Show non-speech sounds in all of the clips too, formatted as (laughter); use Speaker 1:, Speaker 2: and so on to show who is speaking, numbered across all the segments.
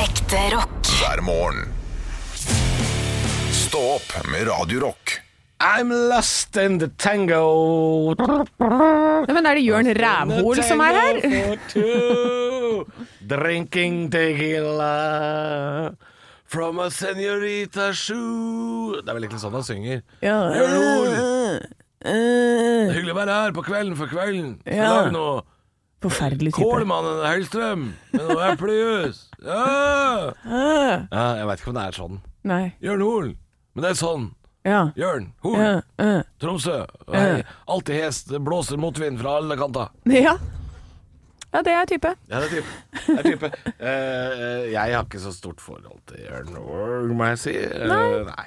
Speaker 1: Ekte rock.
Speaker 2: hver morgen. Stå opp med Radio Rock.
Speaker 3: I'm lost in the tango.
Speaker 4: Nei, men er det Jørn Rævhol som er her?
Speaker 3: Tango for two.
Speaker 4: (laughs)
Speaker 3: Drinking tequila from a senorita shoe. Det er vel egentlig sånn han synger.
Speaker 4: Ja. eh.
Speaker 3: Rævhol. Det er hyggelig å være her på kvelden for kvelden. Skal
Speaker 4: Ja.
Speaker 3: lage noe
Speaker 4: Forferdelig type.
Speaker 3: kålmannen Hellstrøm med noe eplejus. Ja.
Speaker 4: (laughs)
Speaker 3: ja, jeg veit ikke om det er sånn.
Speaker 4: Nei.
Speaker 3: Jørn Hoel. Men det er sånn.
Speaker 4: Ja.
Speaker 3: Jørn Hoel.
Speaker 4: Ja. ja.
Speaker 3: Tromsø. Hei. Alltid hest. Det blåser motvind fra alle kanter.
Speaker 4: Ja. ja, det er type.
Speaker 3: Ja, det er type. Det er type. Eh, eh, jeg har ikke så stort forhold til Jørn Org, må jeg si. Eh,
Speaker 4: Nei.
Speaker 3: nei.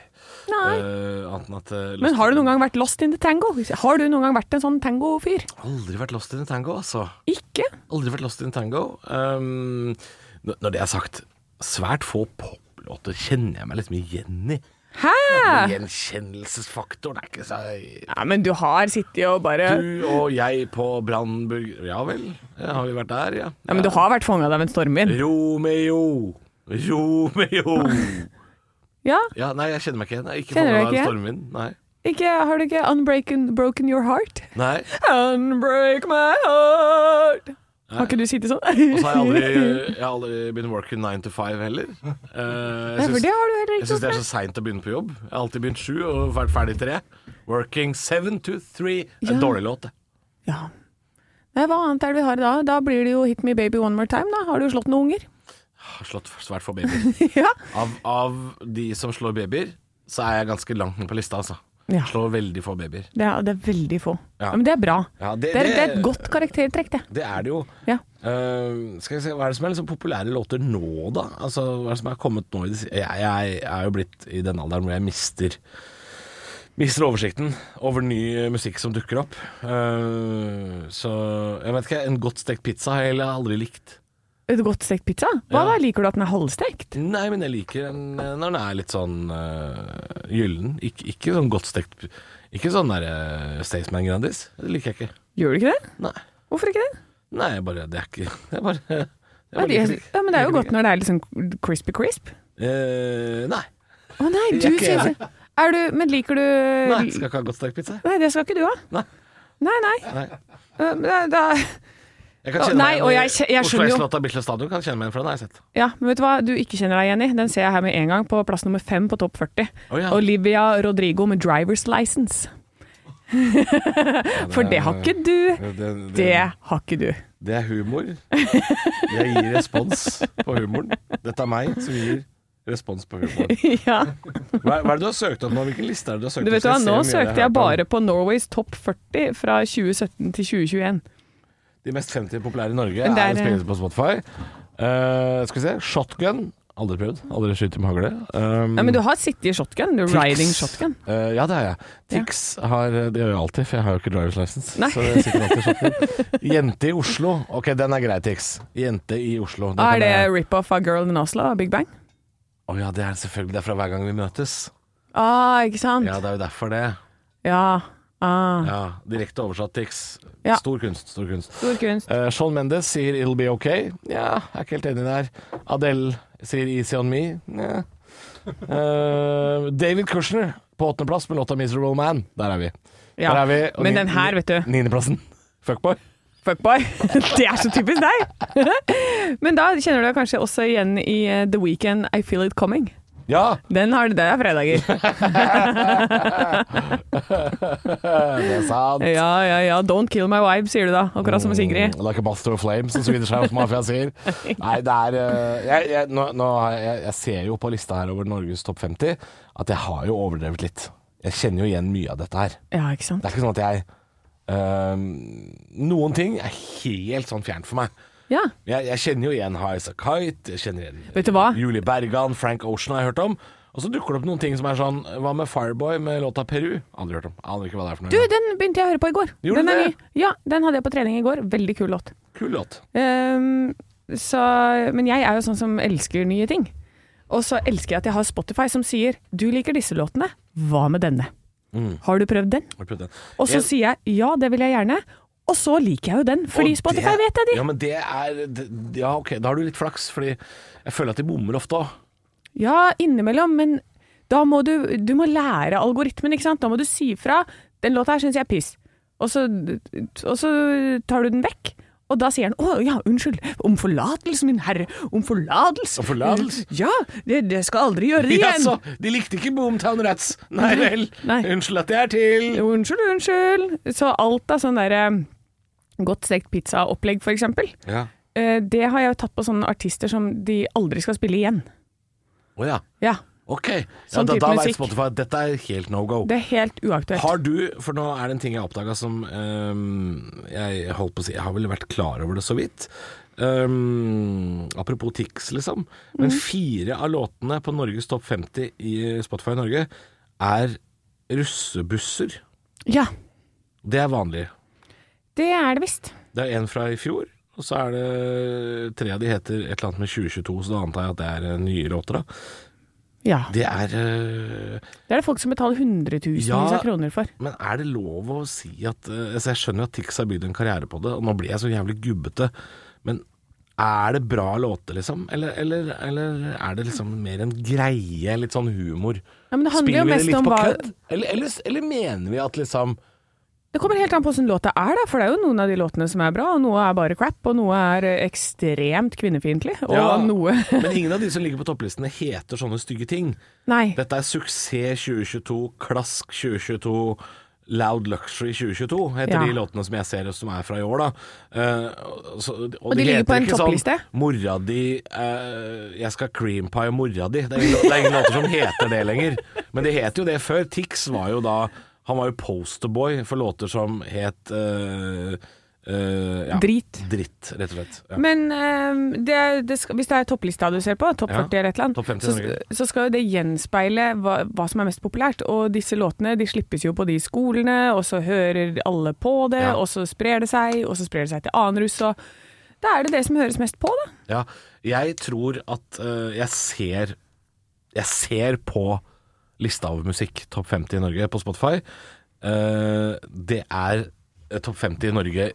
Speaker 4: Nei.
Speaker 3: Eh, annet enn at eh,
Speaker 4: Men
Speaker 3: lost-
Speaker 4: har du noen gang vært lost in the tango? Har du noen gang vært en sånn tango-fyr?
Speaker 3: Aldri vært lost in a tango, altså.
Speaker 4: Ikke?
Speaker 3: Aldri vært lost in a tango. Um, n- når det er sagt, svært få poplåter kjenner jeg meg liksom igjen i.
Speaker 4: Hæ?
Speaker 3: Gjenkjennelsesfaktoren er ikke så
Speaker 4: Ja, men du har sittet og bare
Speaker 3: Du og jeg på Brannburg Ja vel, ja, har vi vært der, ja.
Speaker 4: Ja, men du har vært fanget av en stormvind.
Speaker 3: Romeo,
Speaker 4: (laughs)
Speaker 3: Romeo
Speaker 4: Ja,
Speaker 3: Ja, nei, jeg kjenner meg ikke igjen. Jeg er ikke
Speaker 4: Kjenner
Speaker 3: kjenner
Speaker 4: du
Speaker 3: du
Speaker 4: ikke
Speaker 3: Stormvind. Nei.
Speaker 4: ikke, har du ikke unbroken broken your heart?
Speaker 3: nei.
Speaker 4: Unbreak my heart. Har ikke du sittet sånn?
Speaker 3: Og så har
Speaker 4: (laughs)
Speaker 3: jeg aldri, jeg har aldri been working nine to five heller. Eh,
Speaker 4: Nei,
Speaker 3: jeg
Speaker 4: for det
Speaker 3: syns-
Speaker 4: har du heller
Speaker 3: jeg
Speaker 4: ikke
Speaker 3: syns det er
Speaker 4: gjort.
Speaker 3: så seint å begynne på jobb. Jeg har alltid begynt sju og vært ferdig tre. Working seven to three. Det er en
Speaker 4: Ja.
Speaker 3: dårlig låt, det.
Speaker 4: nei. Ja. Nei, hva annet er det vi har da? Da blir det jo Hit Me Baby One More Time, da. Har du slått noen unger?
Speaker 3: Har slått svært få babyer.
Speaker 4: ja.
Speaker 3: Av, av de som slår babyer, så er jeg ganske langt ned på lista, altså.
Speaker 4: Ja.
Speaker 3: Slår veldig få babyer.
Speaker 4: Det er, det er veldig få.
Speaker 3: Ja.
Speaker 4: Ja. Men det er bra.
Speaker 3: Ja,
Speaker 4: Det er, det er et godt karaktertrekk, det.
Speaker 3: Det er det jo.
Speaker 4: Ja.
Speaker 3: Eh, skal jeg se, Hva er det som er liksom populære låter nå, da? Altså, hva er det som er kommet nå? i det si- Jeg, jeg er jo blitt i den alderen hvor jeg mister Mister oversikten over ny eh, musikk som dukker opp. Eh, så jeg vet ikke, en godt stekt pizza har jeg heller aldri likt.
Speaker 4: Et godt stekt pizza? Hva
Speaker 3: Ja.
Speaker 4: da? Liker du at den er halvstekt?
Speaker 3: Nei, men jeg liker den eh, når den er litt sånn eh, gyllen. Ik ikke sånn godt stekt Ikke sånn der eh, Staysman Grandis. Det liker jeg ikke.
Speaker 4: Gjør du ikke det?
Speaker 3: Nei.
Speaker 4: Hvorfor ikke det?
Speaker 3: Nei, jeg bare Det er ikke (laughs) Jeg bare, jeg
Speaker 4: Ja,
Speaker 3: bare liker
Speaker 4: de,
Speaker 3: det ikke.
Speaker 4: ja, men det er jo
Speaker 3: Liker det
Speaker 4: godt når det er litt sånn crispy crisp.
Speaker 3: Eh, nei.
Speaker 4: Å nei,
Speaker 3: Jeg
Speaker 4: du
Speaker 3: er ikke
Speaker 4: synes Er du Men liker du
Speaker 3: Nei, skal ikke ha godt stekt pizza.
Speaker 4: Nei, det skal ikke du ha.
Speaker 3: Nei.
Speaker 4: Nei, nei.
Speaker 3: Nei.
Speaker 4: Eh, men det- det-
Speaker 3: Jeg kan
Speaker 4: Å,
Speaker 3: kjenne
Speaker 4: nei,
Speaker 3: meg
Speaker 4: og
Speaker 3: igjen i
Speaker 4: jeg kje- jeg
Speaker 3: Oslo
Speaker 4: skjønner jo-
Speaker 3: Slott av Bislett Stadion kan jeg kjenne meg igjen, for den har jeg sett.
Speaker 4: Ja, men vet du hva du ikke kjenner deg igjen i? Den ser jeg her med en gang, på plass nummer fem på topp 40.
Speaker 3: Å, ja.
Speaker 4: Olivia Rodrigo med 'Driver's License'. For det har ikke du.
Speaker 3: Det,
Speaker 4: Det har ikke du. (laughs)
Speaker 3: er humor. Jeg gir respons på humoren. Dette er meg som gir respons på humoren.
Speaker 4: Ja.
Speaker 3: Hva, hva er det du har søkt opp nå? Hvilken liste er det du har søkt
Speaker 4: Du vet
Speaker 3: opp?
Speaker 4: hva,
Speaker 3: Skal jeg se
Speaker 4: Nå
Speaker 3: hvor mye
Speaker 4: søkte jeg
Speaker 3: har hørt om
Speaker 4: bare på Norways topp 40 fra 2017 til 2021.
Speaker 3: De mest 50 populære i Norge
Speaker 4: Men det
Speaker 3: er
Speaker 4: er-
Speaker 3: spillelse på Spotify. Eh, skal vi se. Shotgun. Aldri prøvd. Aldri skutt med hagle. Um,
Speaker 4: Ja, men du har sittet i shotgun. Du
Speaker 3: Tix.
Speaker 4: riding shotgun.
Speaker 3: Eh, ja, det har jeg. Tix har Det gjør jeg alltid, for jeg har jo ikke driver's license.
Speaker 4: Nei.
Speaker 3: Så jeg sitter alltid i shotgun. Jente i Oslo. Ok, den er grei, Tix. Jente i Oslo.
Speaker 4: Er
Speaker 3: kan
Speaker 4: Ah, det
Speaker 3: jeg-
Speaker 4: rip-off av Girl in Oslo av Big Bang?
Speaker 3: Å ja, det er selvfølgelig. Det er fra hver gang vi møtes.
Speaker 4: Ah, ikke sant?
Speaker 3: Ja, det er jo derfor det.
Speaker 4: Ja. Ah.
Speaker 3: Ja, Direkte oversatt, Tix.
Speaker 4: Ja.
Speaker 3: Stor kunst, stor kunst.
Speaker 4: Stor kunst.
Speaker 3: Eh, Shawn Mendes sier 'It'll Be Ok'. Ja, jeg er ikke helt enig der. Adele sier 'Easy On Me'. Nja. Eh, David Kushner på åttendeplass med låta 'Miserable Man'. Der er vi.
Speaker 4: Ja.
Speaker 3: Der er vi. Og
Speaker 4: Men
Speaker 3: ni-
Speaker 4: den her, vet du.
Speaker 3: Niendeplassen. Fuckboy.
Speaker 4: Fuckboy. (laughs) Det er så typisk deg! (laughs) Men da kjenner du deg kanskje også igjen i eh, The Weekend I Feel It Coming.
Speaker 3: Ja!
Speaker 4: Den har det der er fredager.
Speaker 3: eh, Det er sant.
Speaker 4: Ja, ja, ja. Don't kill my vibe, sier du da. Eh, Akkurat som Sigrid.
Speaker 3: Mm, Like a master of flame, som Swedish House Mafia sier. Nei, det er eh, jeg, jeg, nå, nå, har jeg, jeg ser jo på lista her over Norges topp 50 at jeg har jo overdrevet litt. Jeg kjenner jo igjen mye av dette her.
Speaker 4: Ja, ikke sant.
Speaker 3: Det er ikke sånn at jeg eh, Noen ting er helt sånn fjernt for meg.
Speaker 4: Ja.
Speaker 3: Jeg, jeg kjenner jo igjen High As A Kite, jeg kjenner igjen
Speaker 4: Vet du hva?
Speaker 3: Julie Bergan, Frank Ocean har jeg hørt om. Og så dukker det opp noen ting som er sånn Hva med Fireboy med låta Peru? Aldri hørt om. Aner ikke hva det er for noe.
Speaker 4: Du, den begynte jeg å høre på i går.
Speaker 3: Gjorde
Speaker 4: den
Speaker 3: du
Speaker 4: er
Speaker 3: det?
Speaker 4: ny. Ja, den hadde jeg på trening i går. Veldig kul låt.
Speaker 3: Kul låt.
Speaker 4: Ehm, så, men jeg er jo sånn som elsker nye ting. Og så elsker jeg at jeg har Spotify som sier 'du liker disse låtene, hva med denne'? Har du prøvd den?
Speaker 3: Har du prøvd den?
Speaker 4: Og så
Speaker 3: Mm. Jeg-
Speaker 4: sier jeg 'ja, det vil jeg gjerne'. Og så liker jeg jo den, fordi
Speaker 3: Og
Speaker 4: Spotify
Speaker 3: det-
Speaker 4: vet jeg de.
Speaker 3: Ja, men det er det- Ja, ok, da har du litt flaks, fordi jeg føler at de bommer ofte òg.
Speaker 4: Ja, innimellom, men da må du, du må lære algoritmen, ikke sant? Da må du si fra. Den låta her syns jeg er piss. Og så, og så tar du den vekk. Og da sier han 'Å ja, unnskyld. Om forlatelse, min herre. Om forlatelse'.
Speaker 3: Om forlatelse?
Speaker 4: Ja, det, det skal aldri gjøre
Speaker 3: (laughs)
Speaker 4: det
Speaker 3: Ja,
Speaker 4: igjen.
Speaker 3: så, de likte ikke Boomtown Rats. Nei vel.
Speaker 4: Nei.
Speaker 3: Unnskyld at jeg er til.
Speaker 4: Unnskyld, unnskyld. Så alt av sånn derre eh, godt stekt pizza-opplegg, for eksempel,
Speaker 3: Ja.
Speaker 4: eh, det har jeg jo tatt på sånne artister som de aldri skal spille igjen.
Speaker 3: Å ja.
Speaker 4: Ja.
Speaker 3: Ok. Ja,
Speaker 4: Sånn
Speaker 3: da
Speaker 4: type
Speaker 3: da veit
Speaker 4: musikk.
Speaker 3: Spotify at dette er helt no go.
Speaker 4: Det er helt uaktuelt.
Speaker 3: Har du, for nå er det en ting jeg oppdaga som ehm, jeg holdt på å si Jeg har vel vært klar over det så vidt. Ehm, apropos Tix, liksom. Men fire av låtene på Norges topp 50 i Spotify Norge er russebusser.
Speaker 4: Ja.
Speaker 3: Det er vanlig.
Speaker 4: Det er det visst.
Speaker 3: Det er en fra i fjor, og så er det tre av de heter et eller annet med 2022, så da antar jeg at det er eh, nye låter, da.
Speaker 4: Ja.
Speaker 3: Det er eh,
Speaker 4: Det er det folk som betaler hundretusenvis
Speaker 3: Ja.
Speaker 4: av kroner for.
Speaker 3: Men er det lov å si at eh, altså Jeg skjønner at Tix har bygd en karriere på det, og nå blir jeg så jævlig gubbete, men er det bra låter, liksom? Eller, eller, eller er det liksom mer en greie, litt sånn humor?
Speaker 4: Ja, men det handler jo
Speaker 3: Spiller vi det
Speaker 4: mest
Speaker 3: litt
Speaker 4: om
Speaker 3: på
Speaker 4: hva-
Speaker 3: kødd? Eller, eller, eller mener vi at liksom
Speaker 4: Det kommer helt an på hvordan låta er, da, for det er jo noen av de låtene som er bra, og noe er bare crap, og noe er eh, ekstremt kvinnefiendtlig, og
Speaker 3: Ja.
Speaker 4: noe
Speaker 3: (laughs)
Speaker 4: (laughs)
Speaker 3: Men ingen av de som ligger på topplistene heter sånne stygge ting.
Speaker 4: Nei.
Speaker 3: Dette er Suksess 2022, Klask 2022, Loud Luxury 2022 heter
Speaker 4: Ja.
Speaker 3: de låtene som jeg ser som er fra i år, da. Eh, og, så, og,
Speaker 4: de
Speaker 3: det
Speaker 4: ligger
Speaker 3: heter
Speaker 4: på en
Speaker 3: ikke
Speaker 4: toppliste?
Speaker 3: Sånn, 'Mora di eh, Jeg skal cream pie mora di'. Det er, ingen, det er ingen låter som heter det lenger. Men det het jo det før. Tix var jo da Han var jo posterboy for låter som het eh, eh, ja,
Speaker 4: Drit.
Speaker 3: Dritt, rett og slett. Ja.
Speaker 4: Men eh, det, det skal, hvis det er topplista du ser på, topp
Speaker 3: Ja.
Speaker 4: 40 eller et
Speaker 3: Topp
Speaker 4: eller
Speaker 3: 50
Speaker 4: annet,
Speaker 3: i Norge.
Speaker 4: så, så skal jo det gjenspeile hva, hva som er mest populært. Og disse låtene de slippes jo på de skolene, og så hører alle på det,
Speaker 3: Ja.
Speaker 4: og så sprer det seg, og så sprer det seg til annen russ, og da er det det som høres mest på,
Speaker 3: Ja,
Speaker 4: da.
Speaker 3: jeg tror at eh, jeg ser Jeg ser på lista over musikk, topp 50 i Norge, på Spotify. Eh, det er eh, topp 50 i Norge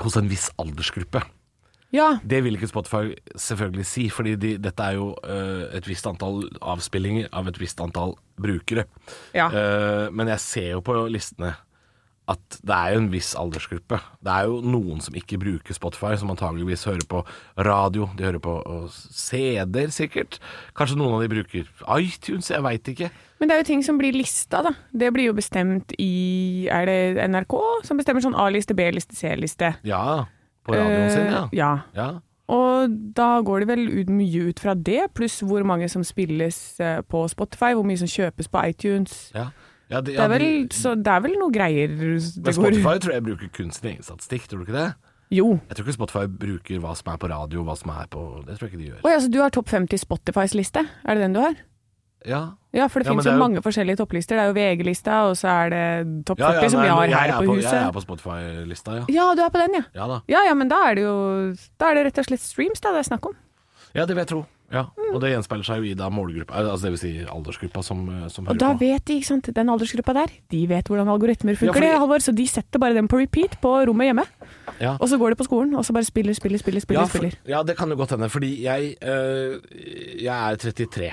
Speaker 3: hos en viss aldersgruppe.
Speaker 4: Ja.
Speaker 3: Det vil ikke Spotify selvfølgelig si, fordi de, dette er jo eh, et visst antall avspillinger av et visst antall brukere.
Speaker 4: Ja.
Speaker 3: Eh, men jeg ser jo på listene at det er jo en viss aldersgruppe. Det er jo noen som ikke bruker Spotify, som antageligvis hører på radio, de hører på og CD-er sikkert. Kanskje noen av de bruker iTunes, jeg veit ikke.
Speaker 4: Men det er jo ting som blir lista, da. Det blir jo bestemt i Er det NRK som bestemmer sånn A-liste, B-liste, C-liste?
Speaker 3: Ja, på radioen sin, ja.
Speaker 4: Eh, ja.
Speaker 3: ja.
Speaker 4: Og da går det vel ut mye ut fra det, pluss hvor mange som spilles eh, på Spotify, hvor mye som kjøpes på iTunes.
Speaker 3: ja. ja, de,
Speaker 4: Det
Speaker 3: ja,
Speaker 4: er vel,
Speaker 3: de-
Speaker 4: så det er vel noe greier
Speaker 3: men
Speaker 4: det går ut
Speaker 3: Spotify tror jeg bruker kun sin egen statistikk, tror du ikke det?
Speaker 4: Jo.
Speaker 3: Jeg tror ikke Spotify bruker hva som er på radio, hva som er på Det tror jeg ikke de gjør.
Speaker 4: Oi, altså du har topp 50 Spotifys liste? Er det den du har?
Speaker 3: Ja,
Speaker 4: Ja, for det
Speaker 3: Ja, men
Speaker 4: finnes
Speaker 3: det
Speaker 4: jo
Speaker 3: er jo-
Speaker 4: mange forskjellige topplister. Det er jo VG-lista, og så er det topp 40
Speaker 3: ja, ja,
Speaker 4: som
Speaker 3: nei,
Speaker 4: vi har
Speaker 3: jeg er
Speaker 4: her på, huset.
Speaker 3: Jeg er på Spotify-lista, ja.
Speaker 4: Ja, du er på den, ja.
Speaker 3: Ja da.
Speaker 4: Ja ja, men da er det jo Da er det rett og slett streams da det er snakk om.
Speaker 3: Ja, det vil jeg tro. Ja. Og det gjenspeiler seg jo i da målgruppa, eh, altså det vil si aldersgruppa som, eh, som
Speaker 4: Og
Speaker 3: hører
Speaker 4: da
Speaker 3: på.
Speaker 4: vet de, ikke sant, den aldersgruppa der, de vet hvordan algoritmer funker,
Speaker 3: fordi-
Speaker 4: det, Halvor, så de setter bare den på repeat på rommet hjemme.
Speaker 3: Ja.
Speaker 4: Og så går de på skolen, og så bare spiller, spiller, spiller, spiller.
Speaker 3: Ja, for,
Speaker 4: spiller.
Speaker 3: ja, det kan jo godt hende, fordi jeg, eh, jeg er 33.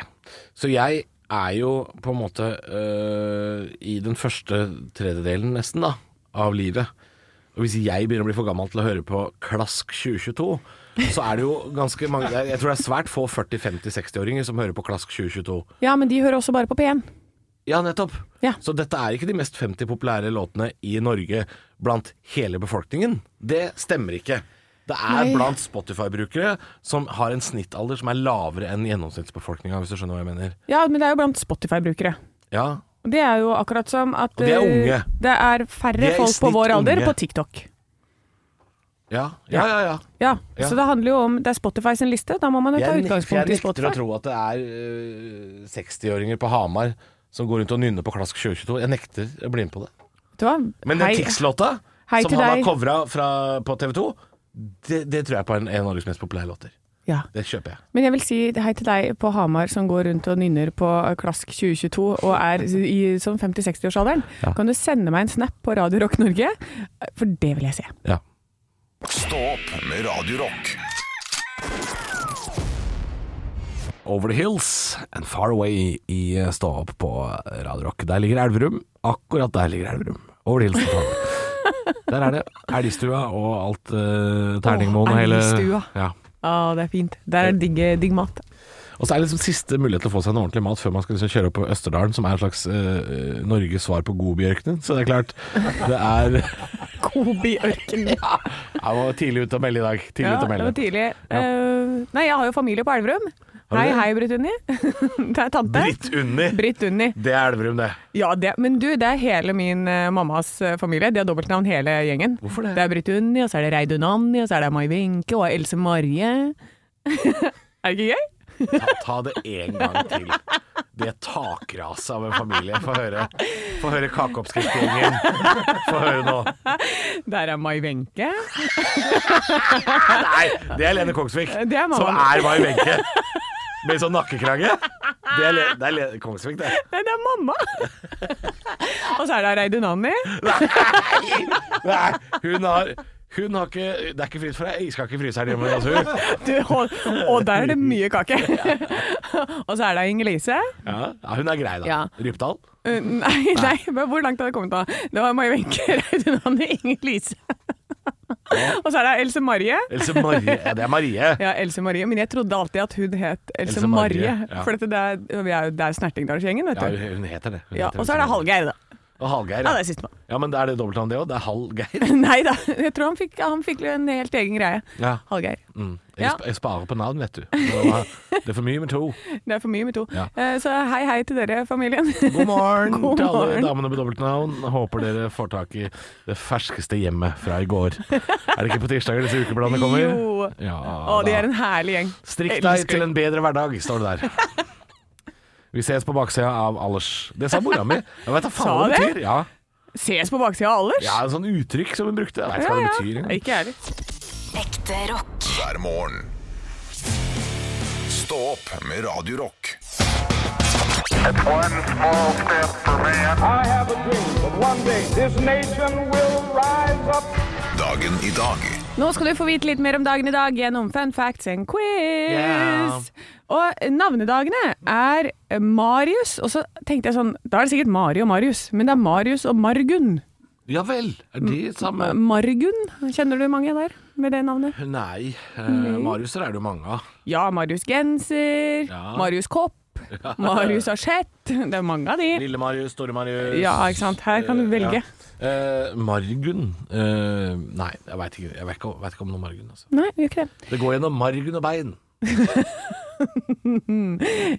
Speaker 3: Så jeg er jo på en måte eh, i den første tredjedelen, nesten, da, av livet. Og hvis jeg begynner å bli for gammel til å høre på Klask 2022, så er det jo ganske mange Jeg jeg tror det er svært få 40-, 50-, 60-åringer som hører på Klask 2022.
Speaker 4: Ja, men de hører også bare på P1.
Speaker 3: Ja, nettopp.
Speaker 4: Ja.
Speaker 3: Så dette er ikke de mest 50 populære låtene i Norge blant hele befolkningen. Det stemmer ikke. Det er
Speaker 4: Nei.
Speaker 3: blant Spotify-brukere som har en snittalder som er lavere enn gjennomsnittsbefolkninga, hvis du skjønner hva jeg mener.
Speaker 4: Ja, men det er jo blant Spotify-brukere.
Speaker 3: Ja,
Speaker 4: Og Det er jo akkurat som at
Speaker 3: Og de er
Speaker 4: eh,
Speaker 3: unge.
Speaker 4: det er færre
Speaker 3: De er i
Speaker 4: folk på
Speaker 3: snitt
Speaker 4: vår alder
Speaker 3: unge.
Speaker 4: på TikTok.
Speaker 3: ja, ja, ja. ja.
Speaker 4: Ja,
Speaker 3: Ja.
Speaker 4: Så det handler jo om Det er Spotify sin liste, da må man jo ta
Speaker 3: Jeg, nekter, jeg
Speaker 4: utgangspunkt i
Speaker 3: nekter å
Speaker 4: Spotify.
Speaker 3: tro at det er øh, 60-åringer på Hamar som går rundt og nynner på Klask 2022. Jeg nekter å bli med på det.
Speaker 4: Vet du hva?
Speaker 3: Men den
Speaker 4: Hei.
Speaker 3: Tix-låta
Speaker 4: hei
Speaker 3: som
Speaker 4: til
Speaker 3: han har
Speaker 4: deg.
Speaker 3: covra fra- på TV 2, det, det tror jeg på er en en av Norges mest populære låter.
Speaker 4: Ja.
Speaker 3: Det kjøper jeg.
Speaker 4: Men jeg vil si hei til deg på Hamar som går rundt og nynner på eh, Klask 2022 og er i sånn 50-60-årsalderen.
Speaker 3: Ja.
Speaker 4: Kan du sende meg en snap på Radio Rock Norge? For det vil jeg se.
Speaker 3: Ja.
Speaker 2: Stå opp med Radio Rock.
Speaker 3: Over the Hills and Far Away i eh, Stå opp på Radio Rock. Der ligger Elverum. Akkurat der ligger Elverum. Over the Hills and Far Away.
Speaker 4: (laughs)
Speaker 3: Der er det elgstua og alt uh, Terningmoen og
Speaker 4: Åh,
Speaker 3: hele
Speaker 4: elgstua.
Speaker 3: ja.
Speaker 4: Å, det er fint. Der er digg, digg mat.
Speaker 3: Og så er det liksom siste mulighet til å få seg en ordentlig mat før man skal liksom kjøre opp på Østerdalen, som er en slags eh, Norges svar på Godbjørkene. Så det er klart, det er (laughs)
Speaker 4: Kobiørken. Ja,
Speaker 3: Jeg var tidlig ute og melde i dag. Tidlig
Speaker 4: ja,
Speaker 3: ute og
Speaker 4: det var
Speaker 3: melde.
Speaker 4: tidlig. Eh, nei, jeg har jo familie på Elverum.
Speaker 3: du
Speaker 4: Hei,
Speaker 3: det?
Speaker 4: hei, Britt Unni. (laughs) det er tante.
Speaker 3: Britt Unni.
Speaker 4: Britt Unni.
Speaker 3: Det er Elverum, det.
Speaker 4: Ja, det, men du, det er hele min eh, mammas eh, familie. De har dobbeltnavn hele gjengen.
Speaker 3: Hvorfor det?
Speaker 4: Mm. Det er Britt Unni, og så er det Reidun Anni, og så er det Mai Wenche og Else Marie. (laughs) er det ikke gøy?
Speaker 3: Ta, ta det en gang til. Det takraset av en familie. Få høre, få høre kakeoppskriftgjengen. Få høre nå.
Speaker 4: Der er Mai Wenche.
Speaker 3: Nei, det er Lene Kongsvik.
Speaker 4: Det er mamma.
Speaker 3: Som er Mai Wenche. Med sånn nakkekrage. Det er, Le- det er Lene Kongsvik, det.
Speaker 4: Nei, det er mamma! (laughs) og så er det Reidun Anni.
Speaker 3: Nei, hun har hun har ikke Det er ikke fritt for deg. Jeg skal ikke i fryseren hjemme altså, hos henne.
Speaker 4: Du, og, og der er det mye kake. (laughs) og så er det Inger-Lise.
Speaker 3: Ja, ja, hun er grei, da.
Speaker 4: Ja.
Speaker 3: Rypdal.
Speaker 4: Uh, nei, nei, men hvor langt har det kommet da? Det var Mai Wenche, (laughs) Reidun Anni, Inger-Lise. og så er det Else Marie.
Speaker 3: Else Marie. Ja, det er Marie.
Speaker 4: Ja, Else Marie. Men jeg trodde alltid at hun het Else,
Speaker 3: Else Marie,
Speaker 4: Marie.
Speaker 3: ja.
Speaker 4: For dette, det er, vi er jo- det er jo Snertingdalsgjengen, vet
Speaker 3: Ja,
Speaker 4: du.
Speaker 3: hun- hun heter det. Hun
Speaker 4: Ja,
Speaker 3: heter
Speaker 4: og så er det
Speaker 3: Else Marie.
Speaker 4: Hallgeir, da.
Speaker 3: Og Hallgeir.
Speaker 4: Ja, det er sistemann.
Speaker 3: Ja, men er det dobbeltnavn det òg? Det er Hallgeir.
Speaker 4: (laughs) Nei da, jeg tror han fikk, han fikk en helt egen greie.
Speaker 3: Ja.
Speaker 4: Hallgeir.
Speaker 3: Mm. Jeg,
Speaker 4: Ja.
Speaker 3: sp jeg sparer på navn, vet du. Det er for mye med to.
Speaker 4: Det er for mye med to.
Speaker 3: Ja.
Speaker 4: Eh, Så hei hei til dere, familien.
Speaker 3: God morgen
Speaker 4: (laughs) God
Speaker 3: til alle
Speaker 4: morgen.
Speaker 3: damene med dobbeltnavn. Håper dere får tak i det ferskeste hjemmet fra i går. Er det ikke på tirsdager disse ukebladene kommer?
Speaker 4: (laughs) Jo.
Speaker 3: Ja,
Speaker 4: Å, de
Speaker 3: da.
Speaker 4: er en herlig gjeng. Eh,
Speaker 3: Strikk deg
Speaker 4: Elsker.
Speaker 3: til en bedre hverdag, står det der. Vi ses på baksida av alders. Det sa mora mi. Jeg vet da faen
Speaker 4: Sa
Speaker 3: hva det
Speaker 4: det?
Speaker 3: betyr. Ja.
Speaker 4: Ses på baksida av alders.
Speaker 3: ja, en sånn uttrykk som hun brukte. Jeg vet ikke hva det betyr. engang.
Speaker 4: Ikke jeg heller.
Speaker 1: Ekte rock.
Speaker 2: hver morgen. Stå opp med Radio Rock.
Speaker 5: It's one small step for man.
Speaker 6: I have a dream that one day this nation will rise up.
Speaker 2: Dagen i dag
Speaker 4: Nå skal du få vite litt mer om dagen i dag gjennom Fun facts and quiz.
Speaker 3: Ja.
Speaker 4: Og navnedagene er Marius, og så tenkte jeg sånn Da er det sikkert Mari og Marius, men det er Marius og Margunn.
Speaker 3: Ja vel. Er de samme
Speaker 4: Margunn, kjenner du mange der med det navnet?
Speaker 3: Nei. eh, Mariuser er det jo mange av.
Speaker 4: Ja, Marius genser,
Speaker 3: Ja.
Speaker 4: Marius kopp, Marius asjett. Det er mange av de.
Speaker 3: Lille Marius, Store Marius
Speaker 4: Ja, ikke sant. Her kan du
Speaker 3: Eh,
Speaker 4: velge.
Speaker 3: ja. Eh, Margunn eh, Nei, jeg veit ikke. Jeg vet ikke, om- vet ikke om noe Margunn. Altså.
Speaker 4: Nei, gjør ikke det.
Speaker 3: Det går gjennom margen og bein.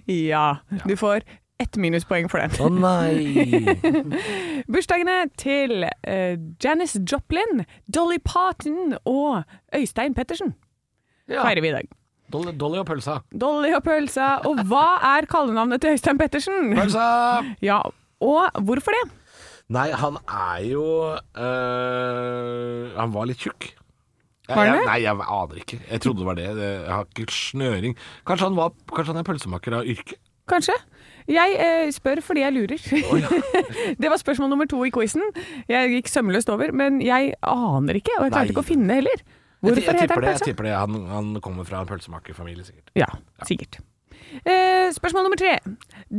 Speaker 4: Ja. Du får ett minuspoeng for den.
Speaker 3: Å
Speaker 4: (laughs)
Speaker 3: nei!
Speaker 4: Bursdagene til eh, Janis Joplin, Dolly Parton og Øystein Pettersen
Speaker 3: Ja.
Speaker 4: feirer vi i dag.
Speaker 3: Dolly, Dolly og pølsa.
Speaker 4: Dolly og pølsa. Og hva er kallenavnet til Øystein Pettersen?
Speaker 3: Pølsa!
Speaker 4: Ja, og hvorfor det?
Speaker 3: Nei, han er jo eh, Han var litt tjukk. Jeg-
Speaker 4: Var han
Speaker 3: jeg,
Speaker 4: det?
Speaker 3: nei, jeg aner ikke. Jeg trodde det var det. det. Jeg har ikke snøring. Kanskje han, var, kanskje han er pølsemaker av yrke?
Speaker 4: Kanskje? Jeg eh, spør fordi jeg lurer. (laughs) det var spørsmål nummer to i quizen. Jeg gikk sømløst over, men jeg aner ikke, og jeg
Speaker 3: Nei.
Speaker 4: klarte ikke å finne heller.
Speaker 3: Jeg, jeg,
Speaker 4: Hvorfor
Speaker 3: tipper
Speaker 4: heter han
Speaker 3: det, jeg
Speaker 4: pølsa?
Speaker 3: tipper det. Han, han kommer fra en pølsemakerfamilie, sikkert.
Speaker 4: Ja, sikkert. Eh, spørsmål nummer tre.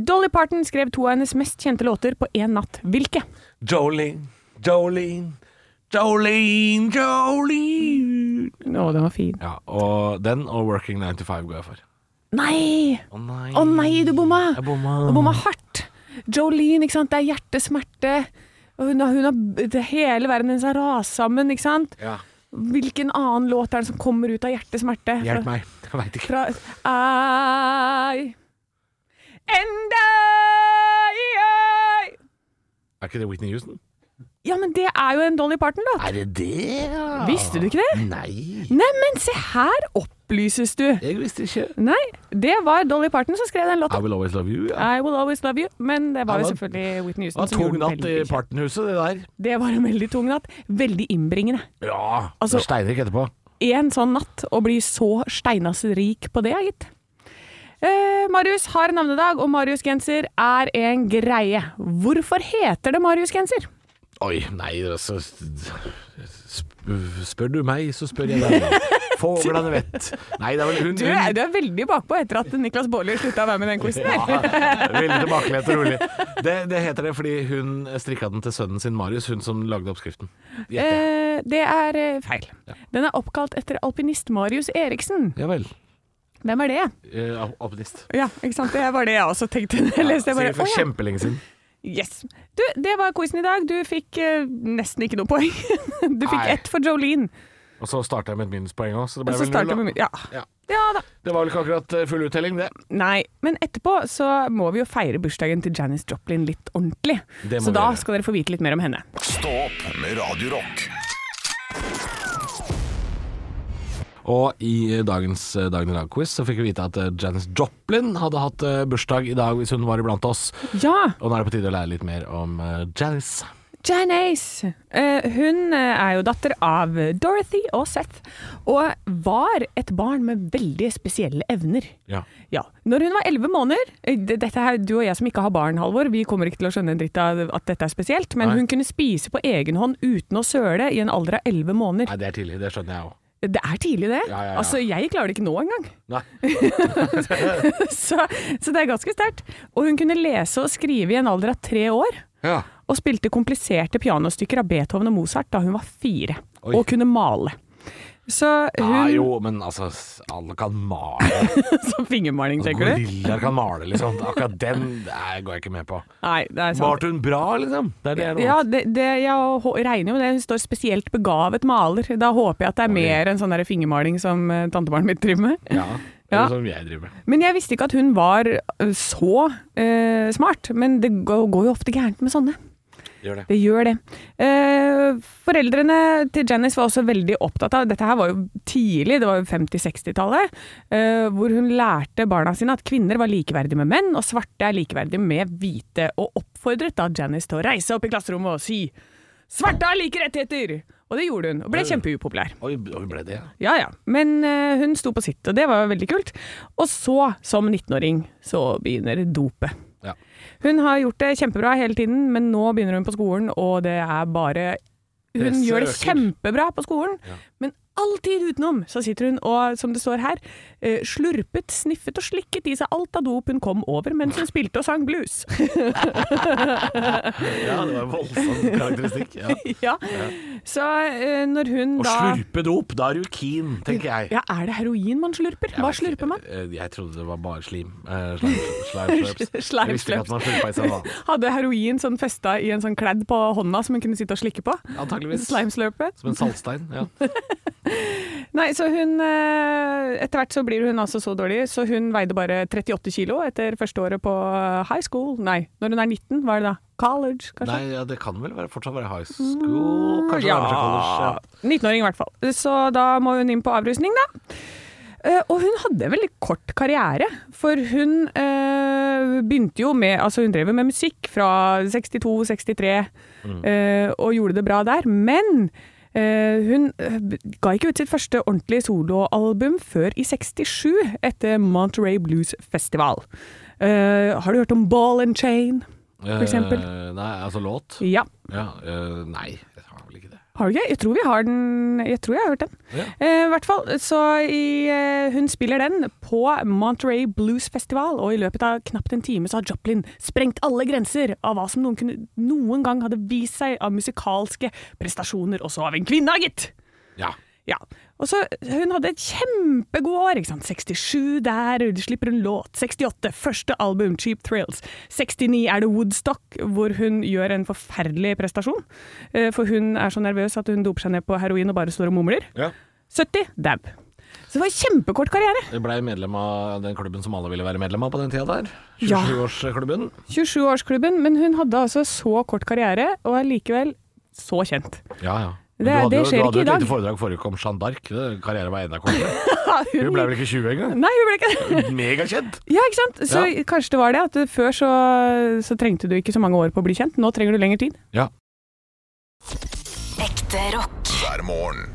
Speaker 4: Dolly Parton skrev to av hennes mest kjente låter på én natt. Hvilke?
Speaker 3: Jolene, Jolene, Jolene, Jolene.
Speaker 4: Å, den var fin.
Speaker 3: Ja, og den og Working 95 går jeg for.
Speaker 4: Nei!
Speaker 3: Å nei.
Speaker 4: Å nei, du bomma!
Speaker 3: Jeg bomma.
Speaker 4: Og bomma hardt. Jolene, ikke sant. Det er hjertesmerte. Og Hun har, hun har, det hele verden hennes har rast sammen, ikke sant.
Speaker 3: Ja.
Speaker 4: Hvilken annen låt er det som kommer ut av hjertesmerte?
Speaker 3: Hjelp meg. Jeg veit ikke.
Speaker 4: Fra, fra I And I, I
Speaker 3: Er ikke det Whitney Houston?
Speaker 4: Ja, men det er jo en Dolly Parton-låt.
Speaker 3: Er det det, ja?
Speaker 4: Visste du ikke det?
Speaker 3: Nei.
Speaker 4: Neimen, se her opplyses du.
Speaker 3: Jeg visste ikke.
Speaker 4: Nei, det var Dolly Parton som skrev den låta.
Speaker 3: I Will Always Love You. Ja.
Speaker 4: I Will Always Love You, men det var
Speaker 3: Ja,
Speaker 4: jo
Speaker 3: det var-
Speaker 4: selvfølgelig Whitney
Speaker 3: Det var
Speaker 4: Houston som
Speaker 3: tung
Speaker 4: gjorde den
Speaker 3: natt i
Speaker 4: veldig kjent.
Speaker 3: Partenhuset, det der.
Speaker 4: Det var en veldig tung natt. Veldig innbringende.
Speaker 3: Ja.
Speaker 4: Altså-
Speaker 3: det er Steinrik etterpå.
Speaker 4: én sånn natt og bli så steinas rik på det, gitt. Eh, Marius har navnedag, og Marius-genser er en greie. Hvorfor heter det Marius-genser?
Speaker 3: Oi, nei, altså sp- Spør du meg, så spør jeg
Speaker 4: (laughs)
Speaker 3: deg. Fuglene vet. Nei, det er vel hun,
Speaker 4: Du, er-
Speaker 3: hun
Speaker 4: du er veldig bakpå etter at Niklas Baarli slutta å være med i den quizen.
Speaker 3: Mm. ja,
Speaker 4: her.
Speaker 3: Veldig tilbakelent og rolig. Det, det heter det fordi hun strikka den til sønnen sin Marius, hun som lagde oppskriften. Gjette.
Speaker 4: Eh, det er eh, feil. Den er oppkalt etter alpinist Marius Eriksen.
Speaker 3: Ja vel.
Speaker 4: Hvem er det?
Speaker 3: Eh, al- alpinist.
Speaker 4: Ja, ikke sant? Det var det jeg også tenkte. Jeg leste jeg bare,
Speaker 3: Sikkert for
Speaker 4: «Å ja,
Speaker 3: kjempelenge siden.
Speaker 4: Yes. Du, det var quizen i dag. Du fikk eh, nesten ikke noe poeng. (laughs) Du fikk
Speaker 3: Nei.
Speaker 4: ett for Jolene.
Speaker 3: Og så starta jeg med et minuspoeng òg, så det
Speaker 4: Og
Speaker 3: ble
Speaker 4: så
Speaker 3: vel
Speaker 4: starter vi
Speaker 3: null.
Speaker 4: med ja.
Speaker 3: Ja.
Speaker 4: ja da.
Speaker 3: da. Det var vel ikke akkurat eh, full uttelling, det.
Speaker 4: Nei. Men etterpå så må vi jo feire bursdagen til Janis Joplin litt ordentlig.
Speaker 3: Det må
Speaker 4: Så
Speaker 3: vi
Speaker 4: da
Speaker 3: gjøre.
Speaker 4: skal dere få vite litt mer om henne.
Speaker 2: Stå opp med Radio Rock.
Speaker 3: Og i eh, dagens eh, Dagen i dag-quiz så fikk vi vite at eh, Janis Joplin hadde hatt eh, bursdag i dag hvis hun var iblant oss.
Speaker 4: Ja,
Speaker 3: Og nå er det på tide å lære litt mer om eh, Janis.
Speaker 4: Janice. Eh, hun eh, er jo datter av Dorothy og Seth, og var et barn med veldig spesielle evner.
Speaker 3: Ja.
Speaker 4: Ja. Når hun var elleve måneder eh, det- Dette her, Du og jeg som ikke har barn, Halvor, vi kommer ikke til å skjønne en dritt av at dette er spesielt, men
Speaker 3: Nei.
Speaker 4: hun kunne spise på egen hånd uten å søle i en alder av elleve måneder.
Speaker 3: Nei, det er tidlig. Det skjønner jeg òg.
Speaker 4: Det er tidlig, det.
Speaker 3: Ja, ja, ja.
Speaker 4: Altså, Jeg klarer det ikke nå engang.
Speaker 3: Nei.
Speaker 4: (laughs) Så, så det er ganske sterkt. Og hun kunne lese og skrive i en alder av tre år.
Speaker 3: Ja.
Speaker 4: Og spilte kompliserte pianostykker av Beethoven og Mozart da hun var fire.
Speaker 3: Oi.
Speaker 4: Og kunne male. Så hun
Speaker 3: Nei,
Speaker 4: (laughs)
Speaker 3: jo, men altså s- Alle kan male.
Speaker 4: Som fingermaling, tenker du?
Speaker 3: Gorillaer kan male, liksom. Akkurat den nei, går jeg ikke med på.
Speaker 4: Nei, det er sant.
Speaker 3: Malte hun bra, liksom? Det er det jeg
Speaker 4: Ja,
Speaker 3: mener.
Speaker 4: det, det, jeg hå- regner jo med det. Hun står spesielt begavet maler. Da håper jeg at det er mer enn sånn der fingermaling som eh, tantebarnet mitt driver med.
Speaker 3: Ja. Det
Speaker 4: Ja.
Speaker 3: er som jeg driver med.
Speaker 4: Men jeg visste ikke at hun var eh, så eh, smart. Men det går, går jo ofte gærent med sånne.
Speaker 3: Gjør det.
Speaker 4: Det gjør det. Eh, foreldrene til Janice var også veldig opptatt av Dette her var jo tidlig, det var jo 50-60-tallet. eh, hvor hun lærte barna sine at kvinner var likeverdige med menn, og svarte er likeverdige med hvite. Og oppfordret da Janice til å reise opp i klasserommet og si 'Svarte har like rettigheter!' Og det gjorde hun, og ble kjempeupopulær.
Speaker 3: Oi, oi, ble det, ja.
Speaker 4: Ja ja, men eh, hun sto på sitt, og det var jo veldig kult. Og så, som 19-åring, så begynner dopet.
Speaker 3: ja.
Speaker 4: Hun har gjort det kjempebra hele tiden, men nå begynner hun på skolen, og det er bare Hun
Speaker 3: Presset
Speaker 4: gjør det
Speaker 3: øker.
Speaker 4: kjempebra på skolen, men alltid utenom så sitter hun og, som det står her, eh, slurpet, sniffet og slikket i seg alt av dop hun kom over mens hun spilte og sang blues. (laughs)
Speaker 3: Ja, det var en voldsom karakteristikk.
Speaker 4: (laughs)
Speaker 3: Ja.
Speaker 4: ja. Så eh, når hun
Speaker 3: Å
Speaker 4: da
Speaker 3: slurpe dop, da er du keen, tenker jeg.
Speaker 4: Ja, er det heroin man slurper?
Speaker 3: Jeg
Speaker 4: Hva
Speaker 3: vet ikke,
Speaker 4: slurper man?
Speaker 3: eh, Jeg trodde det var bare slim. Eh, Slime slime
Speaker 4: (laughs)
Speaker 3: slurps. Jeg visste ikke at man slurpa i seg vann.
Speaker 4: Hadde heroin sånn festa i en sånn kledd på hånda som hun kunne sitte og slikke på?
Speaker 3: Antakeligvis.
Speaker 4: Slimeslurpet?
Speaker 3: Som en saltstein. Ja.
Speaker 4: Nei, så hun eh, Etter hvert så blir hun altså så dårlig, så hun veide bare 38 kilo etter første året på eh, high school. Nei, når hun er 19, hva er det da? College, kanskje?
Speaker 3: Nei, ja, det kan vel være, fortsatt være high school Kanskje det
Speaker 4: ja.
Speaker 3: er fra college. Ja.
Speaker 4: 19-åring i hvert fall. Så da må hun inn på avrusning, da. Eh, Og hun hadde en veldig kort karriere, for hun eh, begynte jo med Altså, hun drev jo med musikk fra 62-63
Speaker 3: Mm.
Speaker 4: eh, og gjorde det bra der, men eh, hun eh, ga ikke ut sitt første ordentlige soloalbum før i 67, etter Monterey Blues Festival. Eh, har du hørt om Ball and Chain? For eksempel.
Speaker 3: Eh, nei, altså låt?
Speaker 4: Ja.
Speaker 3: Ja, eh, nei, jeg har vel ikke det.
Speaker 4: Har du ikke? Jeg tror vi har den Jeg tror jeg har hørt den.
Speaker 3: Ja.
Speaker 4: Eh, I hvert fall, så i, eh, hun spiller den på Monterey Blues Festival, og i løpet av knapt en time så har Joplin sprengt alle grenser av hva som noen, kunne, noen gang hadde vist seg av musikalske prestasjoner, også av en kvinne, gitt!
Speaker 3: Ja.
Speaker 4: Ja. Og så, hun hadde et kjempegod år, ikke sant. 67 der, slipper hun låt. 68, første album, Cheap Thrills. 69 er det Woodstock, hvor hun gjør en forferdelig prestasjon. Eh, For hun er så nervøs at hun doper seg ned på heroin og bare står og mumler. 70, dab. Så det var en kjempekort karriere.
Speaker 3: Jeg blei medlem av den klubben som alle ville være medlem av på den tida der.
Speaker 4: Ja.
Speaker 3: 27-årsklubben.
Speaker 4: 27-årsklubben, men hun hadde altså så kort karriere, og er likevel så kjent.
Speaker 3: Ja, ja. Men
Speaker 4: Det- det
Speaker 3: jo-
Speaker 4: skjer ikke i
Speaker 3: Du hadde jo
Speaker 4: dag.
Speaker 3: et lite foredrag forrige uke om Jeanne d'Arc. Det- Karrieren var enda kortere. (laughs) Hun ble vel ikke 20 engang?
Speaker 4: (laughs) Nei, hun ble ikke det.
Speaker 3: Megakjent!
Speaker 4: Ja, ikke sant? Så
Speaker 3: Ja.
Speaker 4: kanskje det var det, at uh, før så, så trengte du ikke så mange år på å bli kjent. Nå trenger du lengre tid.
Speaker 3: Ja.
Speaker 1: Ekte rock.
Speaker 2: hver morgen.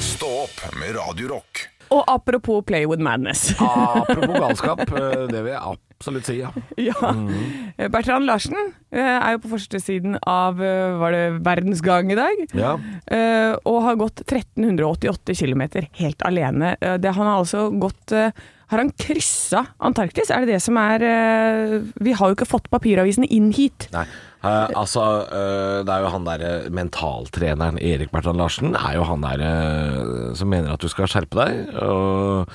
Speaker 2: Stå opp med Radio Rock.
Speaker 4: Og apropos Play with Madness.
Speaker 3: Apropos galskap, eh, det vil jeg absolutt si, ja.
Speaker 4: (laughs) ja.
Speaker 3: Mm.
Speaker 4: Bertrand Larsen eh, er jo på førstesiden av eh, var det Verdens Gang i dag.
Speaker 3: ja.
Speaker 4: Eh, og har gått 1388 km helt alene. Eh, det, han har altså gått eh, Har han kryssa Antarktis? Er det det som er eh, Vi har jo ikke fått papiravisene inn hit.
Speaker 3: Nei. Eh, altså, eh, det er jo han derre mentaltreneren Erik Bertrand Larsen, er jo han derre som mener at du skal skjerpe deg. Og,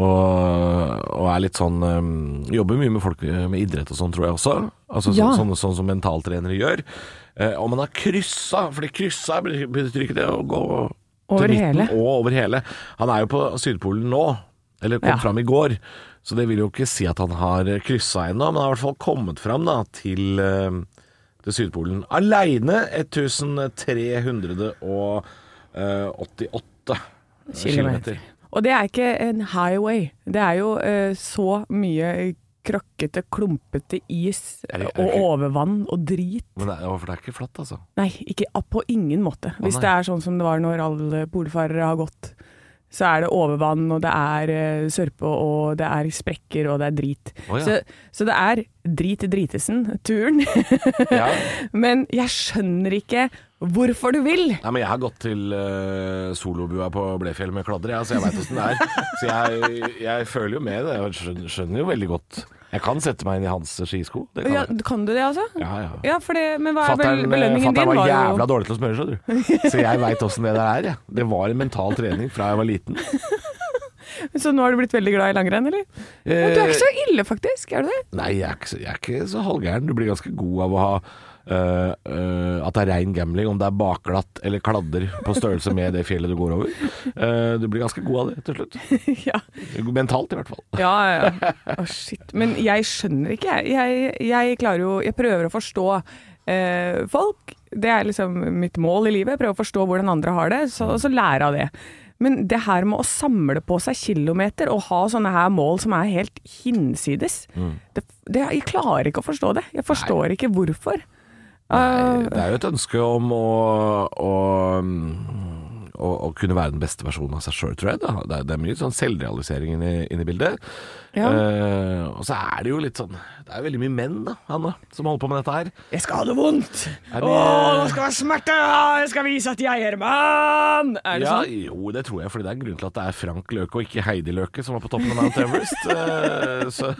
Speaker 3: og, og er litt sånn eh, Jobber mye med folk eh, med idrett og sånn, tror jeg også. Altså
Speaker 4: Ja.
Speaker 3: sånn, sånn, sånn som mentaltrenere gjør. Eh, om han har kryssa, fordi kryssa betyr ikke det å gå
Speaker 4: Over
Speaker 3: til midten
Speaker 4: hele.
Speaker 3: og over hele. Han er jo på Sydpolen nå, eller kom
Speaker 4: Ja.
Speaker 3: fram i går. Så det vil jo ikke si at han har kryssa ennå, men han har i hvert fall kommet fram da, til, eh, til Sydpolen. Aleine eh, 1388
Speaker 4: Kilometer. Og det er ikke en highway. Det er jo eh, så mye krokkete, klumpete is
Speaker 3: Er det- er det
Speaker 4: og
Speaker 3: ikke-
Speaker 4: overvann og drit.
Speaker 3: Men det er, for det er ikke flatt, altså.
Speaker 4: Nei, ikke på ingen måte. Hvis
Speaker 3: nei.
Speaker 4: det er sånn som det var når alle polfarere har gått, så er det overvann, og det er eh, sørpe, og det er sprekker, og det er drit.
Speaker 3: Å, ja.
Speaker 4: så, så det er drit i dritesen, turen.
Speaker 3: Ja.
Speaker 4: (laughs) Men jeg skjønner ikke hvorfor du vil.
Speaker 3: Nei, men Jeg har gått til eh, solobua på Blefjell med kladder, ja, så jeg veit åssen det er. Så jeg, jeg føler jo med det. Jeg skjønner, skjønner jo veldig godt. Jeg kan sette meg inn i hans skisko. Det kan
Speaker 4: Ja,
Speaker 3: jeg.
Speaker 4: kan du det, altså?
Speaker 3: Ja, ja.
Speaker 4: Ja, for det, men hva er vel
Speaker 3: Fatteren
Speaker 4: belønningen din?
Speaker 3: eh, var,
Speaker 4: jo-
Speaker 3: jævla dårlig til å smøre, skjønner du. Så jeg veit åssen det der er, jeg. Det var en mental trening fra jeg var liten.
Speaker 4: (laughs) Så nå har du blitt veldig glad i langrenn, eller? Men du er
Speaker 3: Eh,
Speaker 4: ikke så ille, faktisk. Er du det? (laughs)
Speaker 3: Nei, jeg er ikke så, jeg er ikke så halvgæren. Du blir ganske god av å ha øh, øh, at det er rein gambling, om det er bakglatt eller kladder på størrelse med det fjellet du går over. Eh, du blir ganske god av det til slutt.
Speaker 4: ja.
Speaker 3: Mentalt, i hvert fall.
Speaker 4: Ja, ja, ja. Å, shit. Men jeg skjønner ikke, jeg. Jeg, jeg klarer jo Jeg prøver å forstå eh, folk. Det er liksom mitt mål i livet. Prøve å forstå hvordan andre har det, så, og så lære av det. Men det her med å samle på seg kilometer og ha sånne her mål som er helt hinsides
Speaker 3: Mm.
Speaker 4: det, det, Jeg klarer ikke å forstå det. Jeg forstår ikke hvorfor. Ah.
Speaker 3: Nei, det er jo et ønske om å, å, mm, å, å kunne være den beste versjonen av seg sjøl, tror jeg. Da. Det, er, det er mye sånn selvrealisering inne, inne i bildet.
Speaker 4: Ja.
Speaker 3: Eh, og så er det jo litt sånn Det er veldig mye menn da, Hanne, som holder på med dette her.
Speaker 4: Jeg skal ha det vondt!
Speaker 3: Er det-
Speaker 4: Åh, nå skal det være smerte! Ah, Jeg skal vise at jeg er mann! Er det
Speaker 3: ja,
Speaker 4: sånn?
Speaker 3: Jo, det tror jeg, fordi det er en grunn til at det er Frank Løke og ikke Heidi Løke som var på toppen av Mount
Speaker 4: (laughs)
Speaker 3: Everest. Eh, så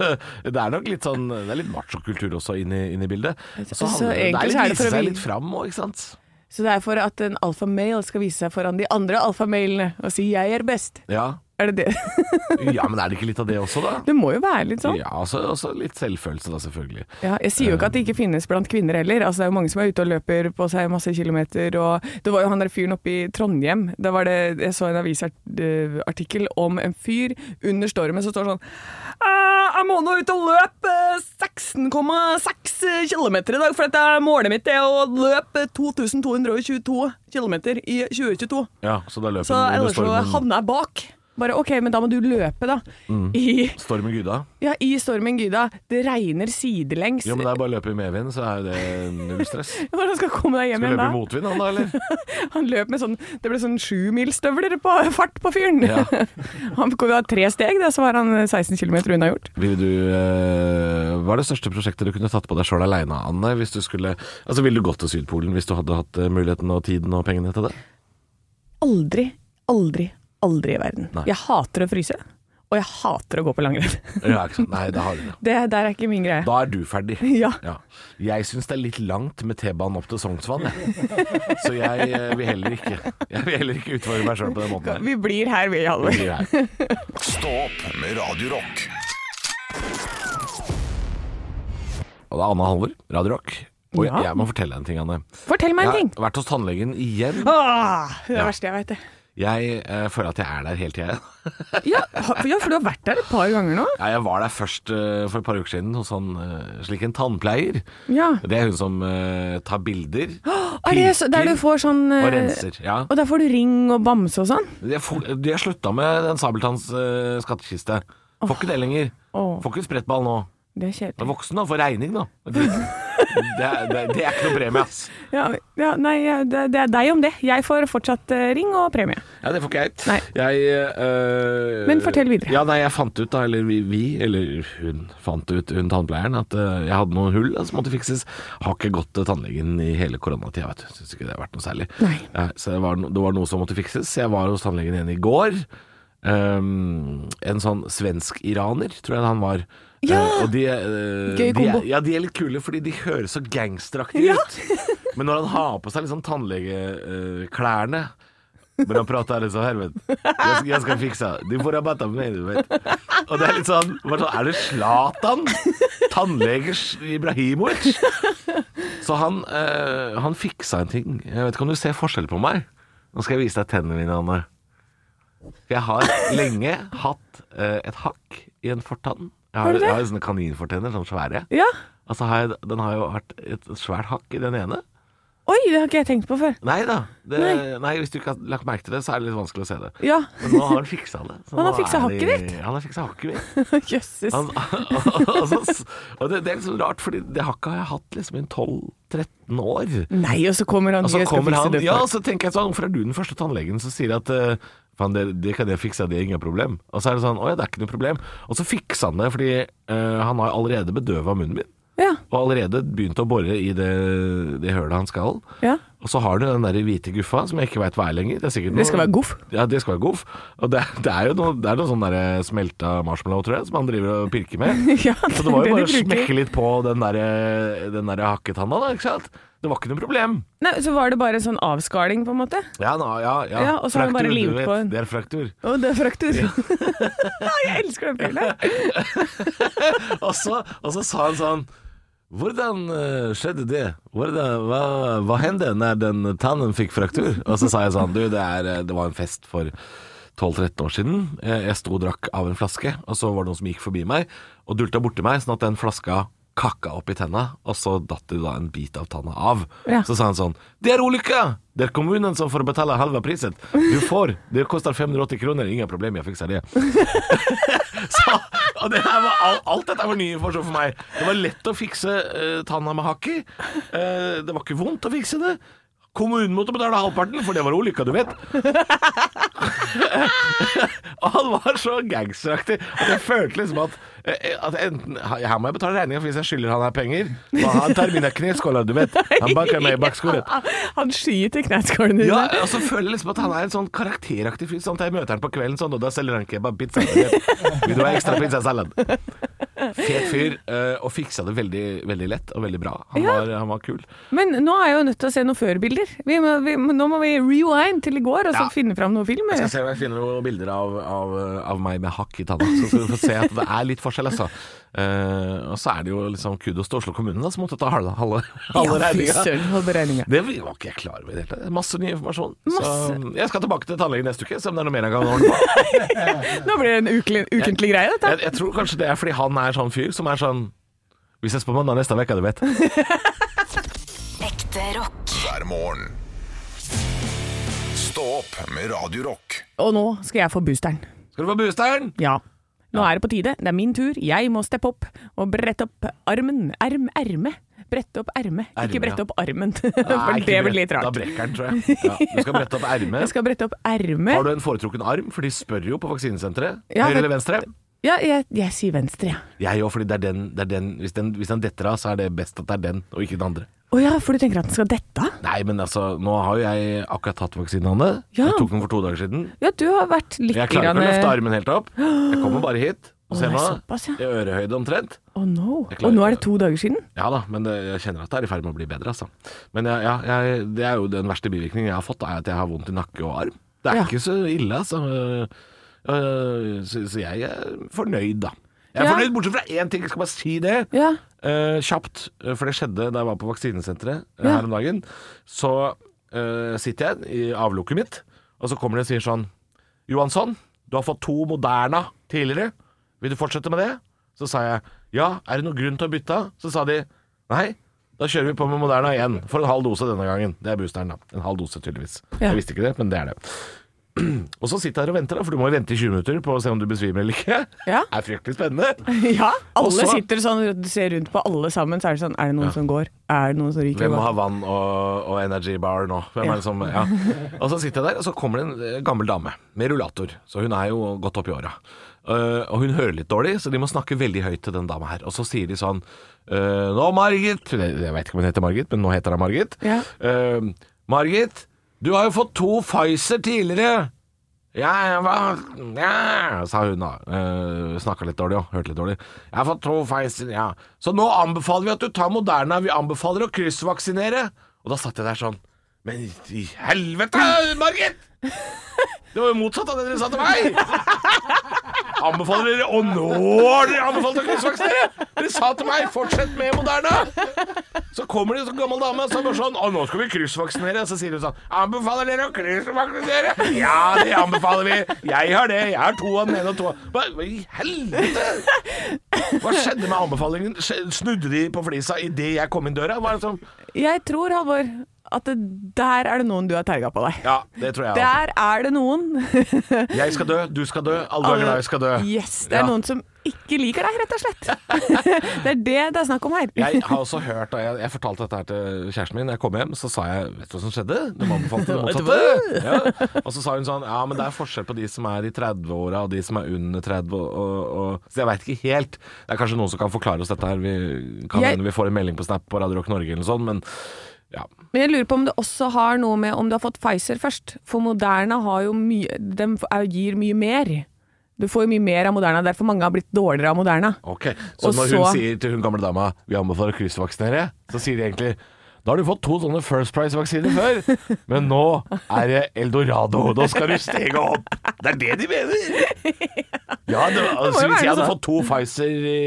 Speaker 3: det er nok litt sånn Det er litt machokultur også inne i- inne i bildet.
Speaker 4: Så
Speaker 3: handler- det
Speaker 4: egentlig
Speaker 3: er
Speaker 4: så er
Speaker 3: litt
Speaker 4: det for
Speaker 3: vise
Speaker 4: å
Speaker 3: seg
Speaker 4: vin-
Speaker 3: litt fram òg, ikke sant.
Speaker 4: Så det er for at en alfamale skal vise seg foran de andre alfamalene og si 'jeg er best'.
Speaker 3: Ja.
Speaker 4: Er det (laughs) det?
Speaker 3: ja, men er det ikke litt av det også,
Speaker 4: (laughs)
Speaker 3: da?
Speaker 4: Det må jo være litt sånn.
Speaker 3: Ja, også, også litt selvfølelse da, selvfølgelig.
Speaker 4: Ja, jeg sier jo ikke at det ikke finnes blant kvinner heller. Altså, det er jo mange som er ute og løper på seg masse kilometer. Og det var jo han der fyren oppe i Trondheim. Da var det, jeg så en avisartikkel om en fyr under stormen som står sånn «Ah, Jeg må nå ut og løpe 16,6 km i dag, for dette er målet mitt det er å løpe 2222 km i 2022.
Speaker 3: Ja, så da løper
Speaker 4: Så
Speaker 3: den under
Speaker 4: ellers så
Speaker 3: stormen,
Speaker 4: havner jeg bak. Bare OK, men da må du løpe, da.
Speaker 3: Mm.
Speaker 4: I,
Speaker 3: stormen Gyda.
Speaker 4: ja, i stormen Gyda. Det regner sidelengs.
Speaker 3: Jo, men det er bare å løpe i medvind, så er jo det null
Speaker 4: (laughs)
Speaker 3: stress.
Speaker 4: Hvordan skal jeg komme deg hjem
Speaker 3: Skal du
Speaker 4: igjen
Speaker 3: løpe
Speaker 4: da?
Speaker 3: i motvind, han da, eller?
Speaker 4: (laughs) Han løp med sånn Det ble sånn sjumilsstøvler på fart på fyren.
Speaker 3: Ja.
Speaker 4: (laughs) Han kunne ha tre steg, det, så var han 16 km unna gjort.
Speaker 3: Ville du eh, Hva er det største prosjektet du kunne tatt på deg sjøl aleine, Anne? Hvis du skulle Altså, ville du gått til Sydpolen hvis du hadde hatt eh, muligheten og tiden og pengene til det?
Speaker 4: Aldri, aldri, aldri i verden.
Speaker 3: Nei.
Speaker 4: Jeg hater å fryse, og jeg hater å gå på langrenn. (laughs)
Speaker 3: Ja, ikke sant? Nei, da har du det.
Speaker 4: Det der er ikke min greie.
Speaker 3: Da er du ferdig.
Speaker 4: (laughs) Ja.
Speaker 3: Jeg syns det er litt langt med T-banen opp til Sognsvann, jeg. Så jeg eh, vil heller ikke Jeg vil heller ikke utfordre meg sjøl på den måten her.
Speaker 4: Vi blir her, vi, Halvor.
Speaker 3: Vi er her.
Speaker 2: Stå opp med Radio Rock.
Speaker 3: Og det er Anne Halvor, Radio Rock. Og
Speaker 4: Ja.
Speaker 3: jeg, jeg må fortelle deg en ting, Anne.
Speaker 4: Fortell meg
Speaker 3: Jeg
Speaker 4: en ting.
Speaker 3: har vært hos tannlegen igjen.
Speaker 4: Åh, det er det
Speaker 3: Ja.
Speaker 4: verste jeg veit, det.
Speaker 3: Jeg eh, føler at jeg er der hele tida.
Speaker 4: Ja, ha- ja, for du har vært der et par ganger nå.
Speaker 3: (laughs) Ja, jeg var der først eh, for et par uker siden hos han eh, slik en tannpleier.
Speaker 4: Ja.
Speaker 3: Det er hun som eh, tar bilder.
Speaker 4: (gasps) Er det så, der du får sånn eh,
Speaker 3: Og renser, ja.
Speaker 4: Og der får du ring og bamse og sånn?
Speaker 3: De har fo- de har slutta med den Sabeltanns eh, skattkiste. Får ikke det lenger.
Speaker 4: Åh.
Speaker 3: Får ikke sprettball nå.
Speaker 4: Det
Speaker 3: Det
Speaker 4: er
Speaker 3: er
Speaker 4: kjedelig. (laughs)
Speaker 3: voksen nå, får regning nå. Det er, det, det er ikke noe premie, ass.
Speaker 4: Ja, ja, nei, ja, det, det er deg om det. Jeg får fortsatt eh, ring og premie.
Speaker 3: Ja, det får ikke jeg.
Speaker 4: Nei.
Speaker 3: jeg øh,
Speaker 4: Men fortell videre.
Speaker 3: Ja, nei, jeg fant ut da, eller vi, vi eller hun fant ut, hun tannpleieren, at øh, jeg hadde noen hull da, som måtte fikses. Har ikke gått til tannlegen i hele koronatida, vet du. Syns ikke det har vært noe særlig.
Speaker 4: Nei.
Speaker 3: Ja, så det var, no- det var noe som måtte fikses. Jeg var hos tannlegen igjen i går. Ehm, en sånn svensk-iraner, tror jeg han var.
Speaker 4: Ja!
Speaker 3: Eh, og de, eh,
Speaker 4: Gøy
Speaker 3: de
Speaker 4: kombo.
Speaker 3: er, ja, de er litt kule fordi de høres så gangsteraktige
Speaker 4: Ja.
Speaker 3: ut. Men når han har på seg liksom tannlegeklærne men han prater litt sånn Helvete, jeg, skal- jeg skal fikse det. Du får rabatt av meg, du vet. Og det er litt sånn bare sånn, Er det Zlatan? Tannlegers Ibrahimovic? Så han, eh, han fiksa en ting. Jeg vet ikke om du ser forskjell på meg? Nå skal jeg vise deg tennene mine, Anne. For jeg har lenge hatt eh, et hakk i en fortann. Jeg
Speaker 4: Har
Speaker 3: har,
Speaker 4: du det?
Speaker 3: jeg har jo sånne kaninfortenner, sånn svære.
Speaker 4: Ja.
Speaker 3: Altså, har jeg, den har jo vært et svært hakk i den ene.
Speaker 4: Oi, det har ikke jeg tenkt på før. (laughs)
Speaker 3: Nei da. Det, nei.
Speaker 4: Nei.
Speaker 3: hvis du ikke har lagt merke til det, så er det litt vanskelig å se det.
Speaker 4: Ja.
Speaker 3: Men nå har han fiksa det. Så
Speaker 4: Han
Speaker 3: nå
Speaker 4: har
Speaker 3: er
Speaker 4: fiksa
Speaker 3: det-
Speaker 4: hakket ditt?
Speaker 3: Han har fiksa hakket mitt.
Speaker 4: Jøsses.
Speaker 3: Han, (laughs) og, så- og det, det er litt så rart, Fordi det hakket har jeg hatt liksom i en 12-13 år.
Speaker 4: Nei, og så kommer han
Speaker 3: Og så
Speaker 4: jeg skal
Speaker 3: kommer
Speaker 4: fikse
Speaker 3: han
Speaker 4: det for
Speaker 3: Ja, og så tenker jeg sånn Hvorfor er du den første tannlegen som sier at eh, Faen, det, det kan jeg fikse, det er ingen problem. Og så er det sånn, åja, det er ikke noe problem. Og så fiksa han det, fordi eh, han har allerede bedøva munnen min.
Speaker 4: Ja.
Speaker 3: Og allerede begynt å bore i det, det hølet han skal.
Speaker 4: Ja.
Speaker 3: Og så har du den der hvite guffa, som jeg ikke veit hva er lenger. Det, er sikkert
Speaker 4: Det skal
Speaker 3: noe-
Speaker 4: være goff.
Speaker 3: Ja, det skal være goff. Og det, (laughs) det er jo noe, det er noe sånn der smelta marshmallow, tror jeg, som han driver og pirker med.
Speaker 4: (laughs) Ja,
Speaker 3: Så det var jo
Speaker 4: de
Speaker 3: bare å
Speaker 4: bruker.
Speaker 3: smekke litt på den der, eh, den der hakketanna, da, ikke sant? Det var ikke noe problem.
Speaker 4: Nei, Så var det bare sånn avskaling, på en måte?
Speaker 3: Ja, nå, ja, ja.
Speaker 4: Ja, og så har han bare
Speaker 3: Fraktur, du
Speaker 4: limt
Speaker 3: vet.
Speaker 4: på en-
Speaker 3: Det er fraktur.
Speaker 4: Å, det er fraktur. (laughs) jeg elsker den filmen.
Speaker 3: (laughs) Og så, og så sa han sånn hvordan eh, skjedde det? Hvordan, hva, hva hendte når den tannen fikk fraktur? Og så sa jeg sånn, du, det, er, eh, det var en fest for 12-13 år siden. Eh, Jeg sto og drakk av en flaske, og så var det noen som gikk forbi meg og dulta borti meg, sånn at den flaska kakka opp i tenna, og så datt det da en bit av tanna av.
Speaker 4: Ja.
Speaker 3: Så sa han sånn, det er ulykka! Det er kommunen som får betale halva prisen. Du får, det koster 580 kroner, ingen problem, jeg fikser det. Så, og det her var, alt, alt dette var ny informasjon for meg. Det var lett å fikse eh, tanna med hakk i. Eh, det var ikke vondt å fikse det. Kommunen måtte betale halvparten, for det var ulykka, du vet. (laughs) og han var så gangsteraktig at jeg følte liksom at, eh, at enten Her må jeg betale regninga, for hvis jeg skylder han her penger Og han tar mine kneskåler, du vet. Han banker meg i bakskåret.
Speaker 4: (laughs) Han skyter kneskålene
Speaker 3: Ja,
Speaker 4: dine.
Speaker 3: og så føler jeg liksom at han er en sånn karakteraktig fyr. Sånn at jeg møter han på kvelden sånn, og da selger han kebabpizza. Vil du ha ekstra pizzasalat? Fet fyr, eh, og fiksa det veldig, veldig lett og veldig bra. Han,
Speaker 4: Ja.
Speaker 3: var, han var kul.
Speaker 4: Men nå er jeg jo nødt til å se noen førbilder. Vi må, vi, nå må vi rewind til i går og så
Speaker 3: Ja.
Speaker 4: finne fram noen film.
Speaker 3: Jeg skal se om jeg finner noen bilder av, av, av meg med hakk i tanna, så skal du få se at det er litt forskjell, altså. Eh, og så er det jo liksom kudos til Oslo kommune, da, som måtte ta halve, halve, halve
Speaker 4: Ja, fy
Speaker 3: regninga.
Speaker 4: søren, hold på regninga.
Speaker 3: Det var ikke jeg klar over i det hele tatt. Masse ny informasjon. Så
Speaker 4: Masse.
Speaker 3: jeg skal tilbake til tannlegen neste uke, se om det er noe mer jeg kan ordne på.
Speaker 4: Nå blir det en ukelig, ukentlig greie, dette.
Speaker 3: jeg, jeg tror kanskje det er fordi han er sånn fyr som er sånn Vi ses på mandag neste uke, du vet.
Speaker 1: Ekte rock.
Speaker 2: hver morgen. Stå opp med Radio Rock.
Speaker 4: Og nå skal jeg få boosteren.
Speaker 3: Skal du få boosteren?
Speaker 4: Ja. Nå er det på tide. Det er min tur. Jeg må steppe opp og brette opp armen. Erm, erme. Brette opp ermet.
Speaker 3: Erme,
Speaker 4: Ikke brette
Speaker 3: ja.
Speaker 4: opp armen, (laughs) for
Speaker 3: ikke
Speaker 4: det blir
Speaker 3: brett-
Speaker 4: litt
Speaker 3: Da
Speaker 4: rart.
Speaker 3: brekker den, tror jeg. Ja, du skal brette opp
Speaker 4: Jeg
Speaker 3: ermet.
Speaker 4: skal brette opp ermet.
Speaker 3: Har du en foretrukken arm? For de spør jo på vaksinesenteret.
Speaker 4: Ja,
Speaker 3: Høyre
Speaker 4: det-
Speaker 3: eller venstre?
Speaker 4: Ja, jeg, jeg sier venstre, ja.
Speaker 3: Jeg òg, fordi det er den, det er den, hvis den Hvis den detter av, så er det best at det er den, og ikke den andre.
Speaker 4: Å ja, for du tenker at den skal dette av?
Speaker 3: Nei, men altså, nå har jo jeg akkurat tatt vaksinen, Anne.
Speaker 4: Ja.
Speaker 3: Jeg tok den for to dager siden.
Speaker 4: Ja, du har vært litt
Speaker 3: Jeg klarer ikke å løfte
Speaker 4: grann- eh,
Speaker 3: armen helt opp. Jeg kommer bare hit. Og
Speaker 4: Å,
Speaker 3: ser
Speaker 4: det er
Speaker 3: nå.
Speaker 4: såpass, ja.
Speaker 3: I ørehøyde omtrent.
Speaker 4: Å no.
Speaker 3: Jeg
Speaker 4: Og
Speaker 3: klarer
Speaker 4: nå er
Speaker 3: ikke
Speaker 4: det to dager siden?
Speaker 3: Ja da, men det, jeg kjenner at det er i ferd med å bli bedre, altså. Men jeg, ja, jeg, det er jo den verste bivirkningen jeg har fått, er at jeg har vondt i nakke og arm. Det er
Speaker 4: Ja.
Speaker 3: ikke så ille, altså. Øh, Så, så jeg er fornøyd, da. Jeg er
Speaker 4: Ja.
Speaker 3: fornøyd, bortsett fra én ting, jeg skal bare si det.
Speaker 4: Ja.
Speaker 3: Eh, kjapt, eh, for det skjedde da jeg var på vaksinesenteret eh,
Speaker 4: Ja.
Speaker 3: her om dagen. Så eh, sitter jeg i avlukket mitt, og så kommer de og sier sånn Johansson, du har fått to Moderna tidligere. Vil du fortsette med det? Så sa jeg ja, er det noen grunn til å bytte? Så sa de nei. Da kjører vi på med Moderna igjen, for en halv dose denne gangen. Det er boosteren, da. En halv dose, tydeligvis.
Speaker 4: Ja.
Speaker 3: Jeg visste ikke det, (clears throat) men det er det. Og så sitter jeg her og venter, da, for du må jo vente i 20 minutter på å se om du besvimer eller ikke.
Speaker 4: Ja.
Speaker 3: Det er fryktelig spennende.
Speaker 4: (laughs) Ja,
Speaker 3: Og
Speaker 4: alle
Speaker 3: så-
Speaker 4: sitter sånn og ser rundt på alle sammen, så er det sånn Er det noen som går? Er det noen som ryker?
Speaker 3: Hvem må ha vann og, og energy bar nå? Hvem er det som, ja. Og så sitter jeg der, og så kommer det en eh, gammel dame med rullator. Så hun er jo godt opp i åra. Eh, og hun hører litt dårlig, så de må snakke veldig høyt til den dama her. Og så sier de sånn eh, Nå, Margit Jeg jeg vet ikke om hun heter Margit, men nå heter hun Margit.
Speaker 4: Ja.
Speaker 3: Eh, Margit, du har jo fått to Pfizer tidligere. Ja, hva ja, sa hun da. Uh, Snakka litt dårlig òg. Hørte litt dårlig. Jeg har fått to Pfizer, ja. Så nå anbefaler vi at du tar Moderna. Vi anbefaler å kryssvaksinere. Og da satt jeg der sånn. Men i helvete, Margit! Det var jo motsatt av det dere sa til meg! Anbefaler dere Og nå har dere anbefalt å kryssvaksinere! Dere sa til meg 'fortsett med Moderna'. Så kommer det en sånn gammel dame og så er det bare sånn 'Å, nå skal vi kryssvaksinere'. Og så sier hun sånn 'Anbefaler dere å kryssvaksinere?' 'Ja, det anbefaler vi. Jeg har det. Jeg har to av den ene og to av Hva hva i helvete? Hva skjedde med anbefalingen? Skje- Snudde de på flisa idet jeg kom inn døra? Hva er det som
Speaker 4: Jeg tror, Halvor, at det, der er det noen du har terga på deg.
Speaker 3: Ja, det tror jeg. også.
Speaker 4: Der er det noen
Speaker 3: Jeg skal dø, (laughs) du skal dø, alle dager da jeg skal dø.
Speaker 4: Yes, det er
Speaker 3: Ja.
Speaker 4: noen som ikke liker deg, rett og slett.
Speaker 3: (laughs)
Speaker 4: det er det det er snakk om her.
Speaker 3: Jeg har også hørt, og jeg, jeg fortalte dette her til kjæresten min Da jeg kom hjem, så sa jeg Vet du hva som skjedde? De anbefalte det motsatte. (laughs) Ja. Og så sa hun sånn Ja, men det er forskjell på de som er i 30-åra og de som er under 30 og, og, og Så jeg veit ikke helt. Det er kanskje noen som kan forklare oss dette her. Vi kan
Speaker 4: Jeg-
Speaker 3: hende vi får en melding på Snap på Radio Rock Norge eller noe sånt, men ja.
Speaker 4: Men jeg lurer på om det også har noe med om du har fått Pfizer først. For Moderna har jo mye, de er- gir mye mer. Du får jo mye mer av Moderna, derfor mange har blitt dårligere av Moderna.
Speaker 3: Ok, Så
Speaker 4: Og
Speaker 3: når hun
Speaker 4: så-
Speaker 3: sier til hun gamle dama Vi anbefaler å kryssvaksinere Så sier de egentlig Da har du fått to sånne First Price-vaksiner
Speaker 4: (laughs)
Speaker 3: før Men nå er det Eldorado Nå skal du stege opp Det er det de mener Ja, det, altså,
Speaker 4: jo
Speaker 3: Hvis
Speaker 4: være
Speaker 3: jeg hadde
Speaker 4: sånn.
Speaker 3: fått to Pfizer i,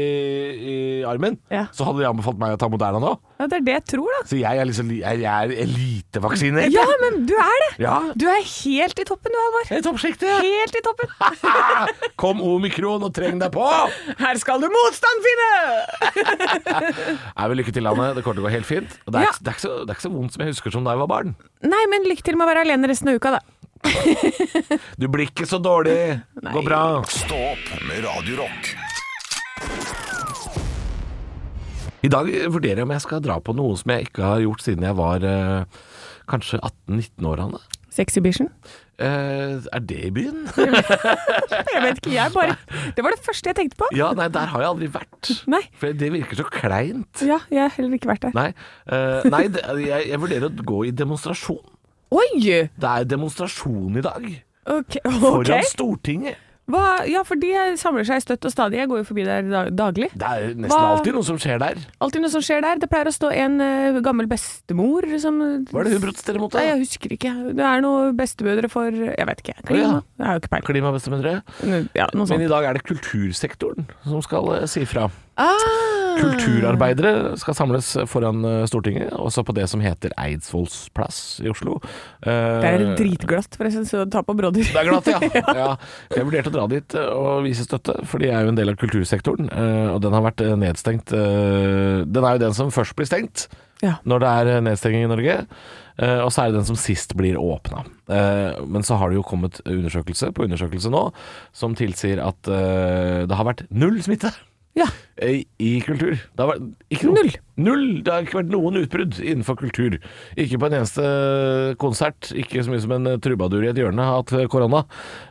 Speaker 3: i armen
Speaker 4: Ja.
Speaker 3: Så hadde de anbefalt meg å ta Moderna nå
Speaker 4: Ja, det er det jeg tror, da.
Speaker 3: Så jeg er, liksom, jeg er elitevaksinert
Speaker 4: Ja, men du er det!
Speaker 3: Ja.
Speaker 4: Du er helt i toppen du, Halvor.
Speaker 3: Jeg er i toppsjiktet
Speaker 4: Helt i toppen.
Speaker 3: (laughs) Kom omikron og treng deg på
Speaker 4: Her skal du motstand finne!
Speaker 3: Er vi lykke til landet, det kommer til å gå helt fint Og det er,
Speaker 4: Ja.
Speaker 3: ikke- det, er ikke så, det er ikke så vondt som jeg husker som da jeg var barn
Speaker 4: Nei, men lykke til med å være alene resten av uka, da.
Speaker 3: Du blir ikke så dårlig. Går bra.
Speaker 2: Stå opp med Radio Rock.
Speaker 3: I dag vurderer jeg om jeg skal dra på noe som jeg ikke har gjort siden jeg var eh, kanskje 18-19 år. Hanne.
Speaker 4: Sexhibition?
Speaker 3: Eh, er det i byen?
Speaker 4: (laughs) Jeg vet ikke, jeg
Speaker 3: (laughs)
Speaker 4: bare Det var det første jeg tenkte på.
Speaker 3: ja, nei, der har jeg aldri vært.
Speaker 4: Nei.
Speaker 3: For det virker så kleint.
Speaker 4: Ja, jeg har heller ikke vært der.
Speaker 3: Nei, eh, nei det, jeg, jeg vurderer å gå i demonstrasjon.
Speaker 4: Oi!
Speaker 3: Det er demonstrasjon i dag.
Speaker 4: Ok.
Speaker 3: Foran
Speaker 4: ok.
Speaker 3: Stortinget.
Speaker 4: Hva, ja, for de samler seg støtt og stadig. Jeg går jo forbi der da- daglig.
Speaker 3: Det er nesten
Speaker 4: Hva-
Speaker 3: alltid noe som skjer der.
Speaker 4: Alltid noe som skjer der. Det pleier å stå en eh, gammel bestemor som
Speaker 3: Hva er det hun protesterer mot?
Speaker 4: Nei,
Speaker 3: da?
Speaker 4: jeg husker ikke. Det er noe bestemødre for Jeg vet ikke.
Speaker 3: Å, ja.
Speaker 4: Klima. Jeg har jo ikke peiling.
Speaker 3: Klimabestemødre.
Speaker 4: Ja, noe
Speaker 3: Men
Speaker 4: sånt.
Speaker 3: i dag er det kultursektoren som skal eh, si fra.
Speaker 4: Ah.
Speaker 3: Kulturarbeidere skal samles foran eh, Stortinget, også på det som heter Eidsvolls plass i Oslo.
Speaker 4: Det er
Speaker 3: Eh,
Speaker 4: dritglatt, forresten, så ta på brodder.
Speaker 3: det er glatt, ja.
Speaker 4: (laughs)
Speaker 3: ja. Jeg vurderte å dra dit eh, og vise støtte, for de er jo en del av kultursektoren. eh, Og den har vært eh, nedstengt eh, Den er jo den som først blir stengt
Speaker 4: Ja.
Speaker 3: når det er eh, nedstenging i Norge. eh, Og så er det den som sist blir åpna. Men så har det jo kommet undersøkelse på undersøkelse nå som tilsier at eh, det har vært null smitte
Speaker 4: Ja.
Speaker 3: i, Eh, i kultur. Det har vært, ikke noe.
Speaker 4: Null.
Speaker 3: Null! Det har ikke vært noen utbrudd innenfor kultur. Ikke på en eneste eh, konsert. Ikke så mye som en eh, trubadur i et hjørne har hatt eh, korona.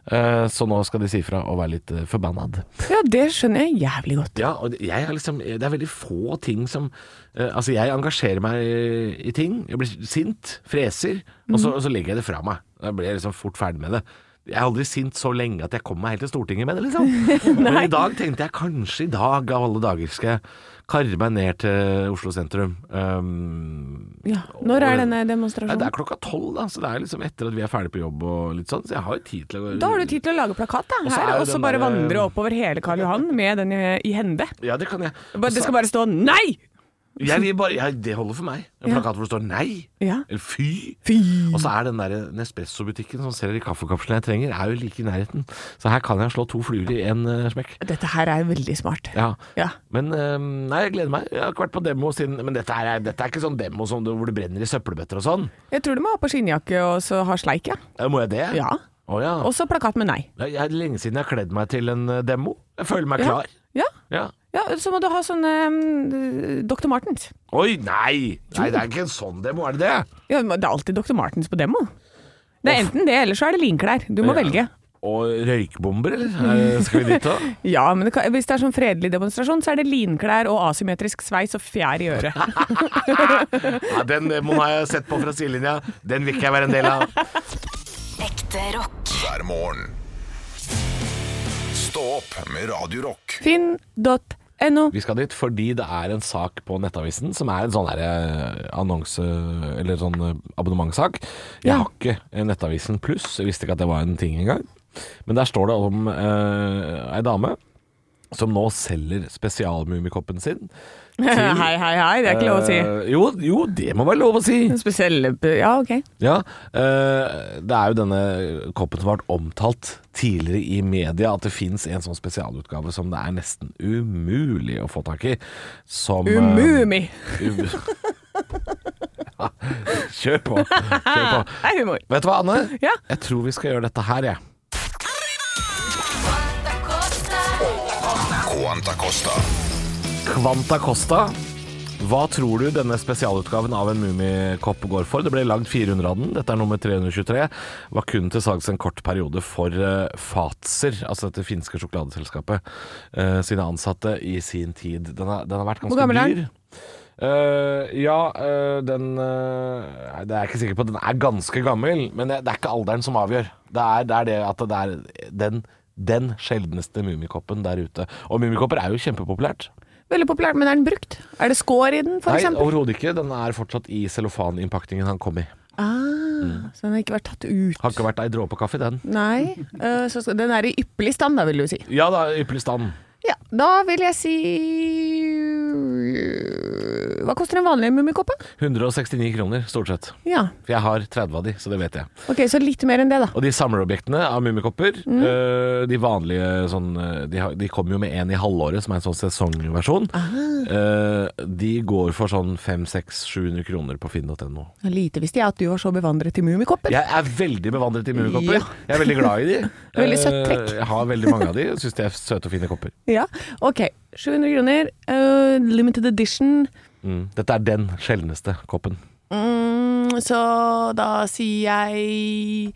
Speaker 3: Eh, Så nå skal de si fra og være litt eh, forbannad.
Speaker 4: ja, det skjønner jeg jævlig godt.
Speaker 3: Ja, og jeg er liksom, det er veldig få ting som eh, Altså, jeg engasjerer meg i- i ting. Jeg blir sint, freser, og,
Speaker 4: Mhm.
Speaker 3: så, og så legger jeg det fra meg. Da blir jeg liksom fort ferdig med det. Jeg er aldri sint så lenge at jeg kommer meg helt til Stortinget med det,
Speaker 4: (laughs)
Speaker 3: liksom. Men i dag tenkte jeg kanskje i dag, av alle dager, skal jeg karre meg ned til Oslo sentrum. Um,
Speaker 4: Ja. Når
Speaker 3: og-
Speaker 4: er denne
Speaker 3: Nei, det er
Speaker 4: demonstrasjonen?
Speaker 3: klokka tolv, da, så det er liksom etter at vi er ferdig på jobb og litt sånn, så jeg har jo tid til å
Speaker 4: Da har du tid til å lage plakat da,
Speaker 3: Og så er
Speaker 4: her,
Speaker 3: jo
Speaker 4: og
Speaker 3: den
Speaker 4: så bare
Speaker 3: der-
Speaker 4: vandre oppover hele Karl Johan med den i, i hende.
Speaker 3: Ja, det kan jeg.
Speaker 4: Bare-
Speaker 3: Og så-
Speaker 4: Det skal bare stå 'nei'!
Speaker 3: Jeg vil bare, jeg, det holder for meg. En
Speaker 4: Ja.
Speaker 3: plakat hvor det står nei.
Speaker 4: Ja.
Speaker 3: Eller fy.
Speaker 4: Fy!
Speaker 3: Og så er den der Nespresso-butikken som selger de kaffekapslene jeg trenger, er jo like i nærheten. Så her kan jeg slå to fluer i en eh, smekk.
Speaker 4: Dette her er veldig smart.
Speaker 3: Ja.
Speaker 4: Ja.
Speaker 3: Men eh, nei, jeg gleder meg. Jeg har ikke vært på demo siden Men dette, her er, dette er ikke sånn demo som, du- hvor du brenner i søppelbøtter og sånn.
Speaker 4: Jeg tror du må ha på skinnjakke og så ha sleik, ja.
Speaker 3: Eh, Må jeg det?
Speaker 4: Ja.
Speaker 3: Å ja.
Speaker 4: Også plakat med nei.
Speaker 3: Det er lenge siden jeg har kledd meg til en eh, demo. Jeg føler meg klar.
Speaker 4: Ja.
Speaker 3: Ja.
Speaker 4: ja, så må du ha sånn eh, Dr. Martens.
Speaker 3: Oi, nei! Nei, det er ikke en sånn demo, er det det?
Speaker 4: Ja, men det er alltid Dr. Martens på demo. Det er enten det, eller så er det linklær. Du må
Speaker 3: Ja.
Speaker 4: velge.
Speaker 3: Og røykbomber, eller? Eh, Skal vi dit da?
Speaker 4: (laughs) Ja, men det kan, hvis det er sånn fredelig demonstrasjon, så er det linklær og asymmetrisk sveis og fjær i øret.
Speaker 3: (laughs) Nei, den demoen har jeg sett på fra sidelinja. Den vil ikke jeg være en del av.
Speaker 1: Ekte rock.
Speaker 2: hver morgen. Stå opp med Radio Rock.
Speaker 4: Finn.no.
Speaker 3: Vi skal dit fordi det er en sak på Nettavisen som er en sånn der eh, annonse Eller sånn eh, abonnementsak. Jeg
Speaker 4: Ja.
Speaker 3: har ikke eh, Nettavisen pluss, jeg visste ikke at det var en ting engang. Men der står det om eh, ei dame som nå selger spesialmummikoppen sin.
Speaker 4: (laughs) (laughs) Hei, hei, hei. Det er ikke lov å si.
Speaker 3: Eh, jo, jo, det må være lov å si!
Speaker 4: Spesielle Ja, ok.
Speaker 3: Ja, eh, det er jo denne koppen som har vært omtalt tidligere i media, at det fins en sånn spesialutgave som det er nesten umulig å få tak i. Som eh,
Speaker 4: Umumi.
Speaker 3: um- Ja, (laughs) Kjør på. Kjør på.
Speaker 4: (laughs) Hei, humor.
Speaker 3: Vet du hva, Anne?
Speaker 4: Ja.
Speaker 3: Jeg tror vi skal gjøre dette her, jeg.
Speaker 2: Quanta Costa.
Speaker 3: Quanta Costa. Hva tror du denne spesialutgaven av en Mummikopp går for? Det ble lagd 400 av den. Dette er nummer 323. Var kun til salgs en kort periode for eh, Fatser, altså dette finske sjokoladeselskapet, eh, sine ansatte i sin tid. Den har, den har vært ganske dyr.
Speaker 4: gammel er den?
Speaker 3: Eh, ja, eh, den eh, nei, Det er jeg ikke sikker på. Den er ganske gammel, men det, det er ikke alderen som avgjør. Det er det, er det at det er den, den sjeldneste Mummikoppen der ute. Og Mummikopper er jo kjempepopulært.
Speaker 4: Veldig populært, men er den brukt? Er det skår i den, for
Speaker 3: Nei,
Speaker 4: eksempel?
Speaker 3: overhodet ikke. Den er fortsatt i cellofaninnpakningen han kom i.
Speaker 4: Ah, så den har ikke vært tatt ut?
Speaker 3: Mm. Har ikke vært ei dråpe kaffe, den.
Speaker 4: Nei. eh, så skal, den er i ypperlig stand, da, vil du si.
Speaker 3: Ja da, ypperlig stand.
Speaker 4: Ja, da vil jeg si Hva koster en vanlig mummikoppe?
Speaker 3: 169 kroner, stort sett.
Speaker 4: Ja,
Speaker 3: For jeg har 30 av de, så det vet jeg.
Speaker 4: ok, så litt mer enn det, da.
Speaker 3: Og de samlerobjektene av mummikopper,
Speaker 4: Mm.
Speaker 3: øh, de vanlige sånn øh, De, har- de kommer jo med en i halvåret, som er en sånn sesongversjon. Øh, de går for sånn 500-700 kroner på finn.no.
Speaker 4: Lite visste jeg at du var så bevandret i mummikopper.
Speaker 3: Jeg er veldig bevandret i mummikopper.
Speaker 4: Ja.
Speaker 3: Jeg er veldig glad i de.
Speaker 4: (laughs) Veldig søtt
Speaker 3: Eh,
Speaker 4: trekk.
Speaker 3: Jeg har veldig mange av de. og Syns de er søte og fine kopper.
Speaker 4: Ja, ok. 700 kroner, eh, limited edition.
Speaker 3: Mm. Dette er den sjeldneste koppen.
Speaker 4: Mm, så da sier jeg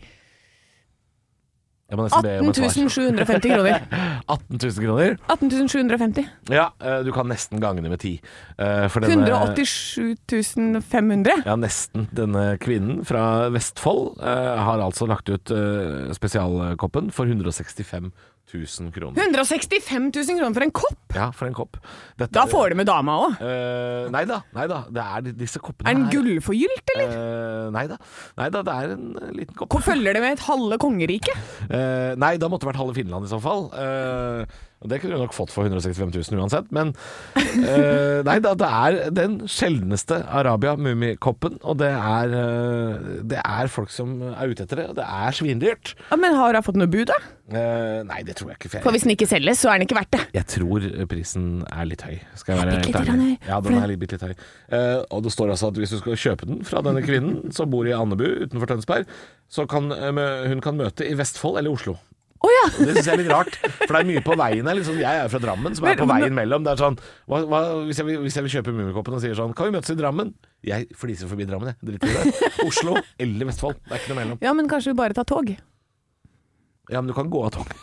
Speaker 3: Jeg må nesten be om
Speaker 4: 18
Speaker 3: et svar.
Speaker 4: 750 kroner. (laughs)
Speaker 3: 18 000 kroner?
Speaker 4: 18 750.
Speaker 3: Ja, eh, du kan nesten gange det med ti. Eh, For denne-
Speaker 4: 187 500.
Speaker 3: Ja, nesten. Denne kvinnen fra Vestfold eh, har altså lagt ut eh, spesialkoppen for 165 000 kroner.
Speaker 4: 165 000 kroner for en kopp!
Speaker 3: Ja, for en kopp. Dette-
Speaker 4: Da får du med dama òg.
Speaker 3: Eh, nei da, nei da. Det er de- disse koppene
Speaker 4: Er den
Speaker 3: her.
Speaker 4: gullforgylt, eller?
Speaker 3: Eh, nei da. Nei da, det er en eh, liten kopp.
Speaker 4: Hvor følger det med et halve kongerike?
Speaker 3: Eh, nei, da måtte det vært halve Finland i så fall. Eh, og det kunne du nok fått for 165 000 uansett, men eh, Nei da, det er den sjeldneste Arabia-mummikoppen, og det er, eh, det er folk som er ute etter det, og det er svindyrt.
Speaker 4: Ja, men har hun fått noe bud, da?
Speaker 3: Eh, nei, det tror jeg ikke. for jeg-
Speaker 4: For hvis den ikke selges, så er den ikke verdt det.
Speaker 3: jeg tror prisen er litt høy, skal jeg være
Speaker 4: Bitte
Speaker 3: helt
Speaker 4: litt grann
Speaker 3: ærlig.
Speaker 4: høy.
Speaker 3: Ja,
Speaker 4: For
Speaker 3: den
Speaker 4: det-
Speaker 3: er litt, bitte litt høy. Eh, og det står altså at hvis du skal kjøpe den fra denne kvinnen som bor i Andebu utenfor Tønsberg, så kan eh, mø- hun kan møte i Vestfold eller Oslo.
Speaker 4: Å ja!
Speaker 3: Det syns jeg er litt rart, for det er mye på veien her. Liksom. Jeg er jo fra Drammen, som er på veien mellom. Det er sånn, hva, hva, hvis, jeg vil, hvis jeg vil kjøpe Mummikoppen og sier sånn Kan vi møtes i Drammen? Jeg fliser forbi Drammen, jeg. Drit i det. Oslo eller Vestfold. Det er ikke noe mellom.
Speaker 4: Ja, men kanskje vi bare tar tog?
Speaker 3: Ja, men du kan gå av toget.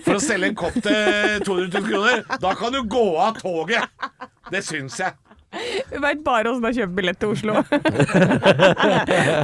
Speaker 3: For å selge en kopp til 200 000 kroner, da kan du gå av toget! Det syns jeg.
Speaker 4: Vi veit bare åssen det er å kjøpe billett til Oslo. (laughs)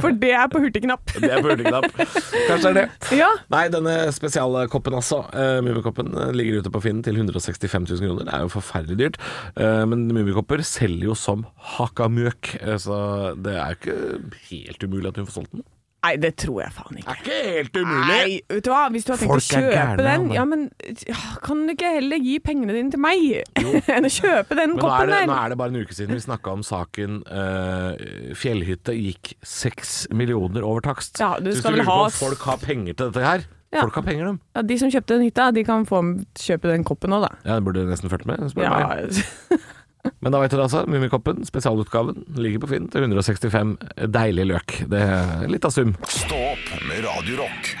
Speaker 4: For det er på hurtigknapp.
Speaker 3: Det er på hurtigknapp. Kanskje det er det.
Speaker 4: Ja.
Speaker 3: Nei, denne spesialkoppen altså, uh, Mummikoppen, eh, ligger ute på Finn til 165 000 kroner. Det er jo forferdelig dyrt. Eh, men mummikopper selger jo som hakka mjøk, eh, så det er jo ikke helt umulig at hun får solgt den.
Speaker 4: Nei, det tror jeg faen ikke.
Speaker 3: Det er ikke helt
Speaker 4: Nei, vet du hva? Hvis du har tenkt
Speaker 3: Folk
Speaker 4: å
Speaker 3: er
Speaker 4: kjøpe
Speaker 3: gærne,
Speaker 4: den,
Speaker 3: Anne.
Speaker 4: ja, men ja, kan du ikke heller gi pengene dine til meg (laughs) enn å kjøpe
Speaker 3: Men
Speaker 4: den
Speaker 3: nå er,
Speaker 4: koppen
Speaker 3: det, nå
Speaker 4: der?
Speaker 3: er det bare en uke siden vi snakka om saken eh, Fjellhytte gikk seks millioner over takst.
Speaker 4: Ja, du
Speaker 3: Så hvis
Speaker 4: skal vel
Speaker 3: lurer på
Speaker 4: ha
Speaker 3: om
Speaker 4: s-
Speaker 3: Folk har penger til dette her.
Speaker 4: Ja.
Speaker 3: Folk har penger, dem.
Speaker 4: Ja, de som kjøpte den hytta, de kan få kjøpe den koppen òg, da.
Speaker 3: Ja, det burde nesten fulgt med. spør du meg.
Speaker 4: Ja.
Speaker 3: Men da vet dere altså, Mummikoppen, spesialutgaven, ligger på Finn til 165 deilige løk. Det er litt av sum.
Speaker 2: Stå opp med Radio Rock.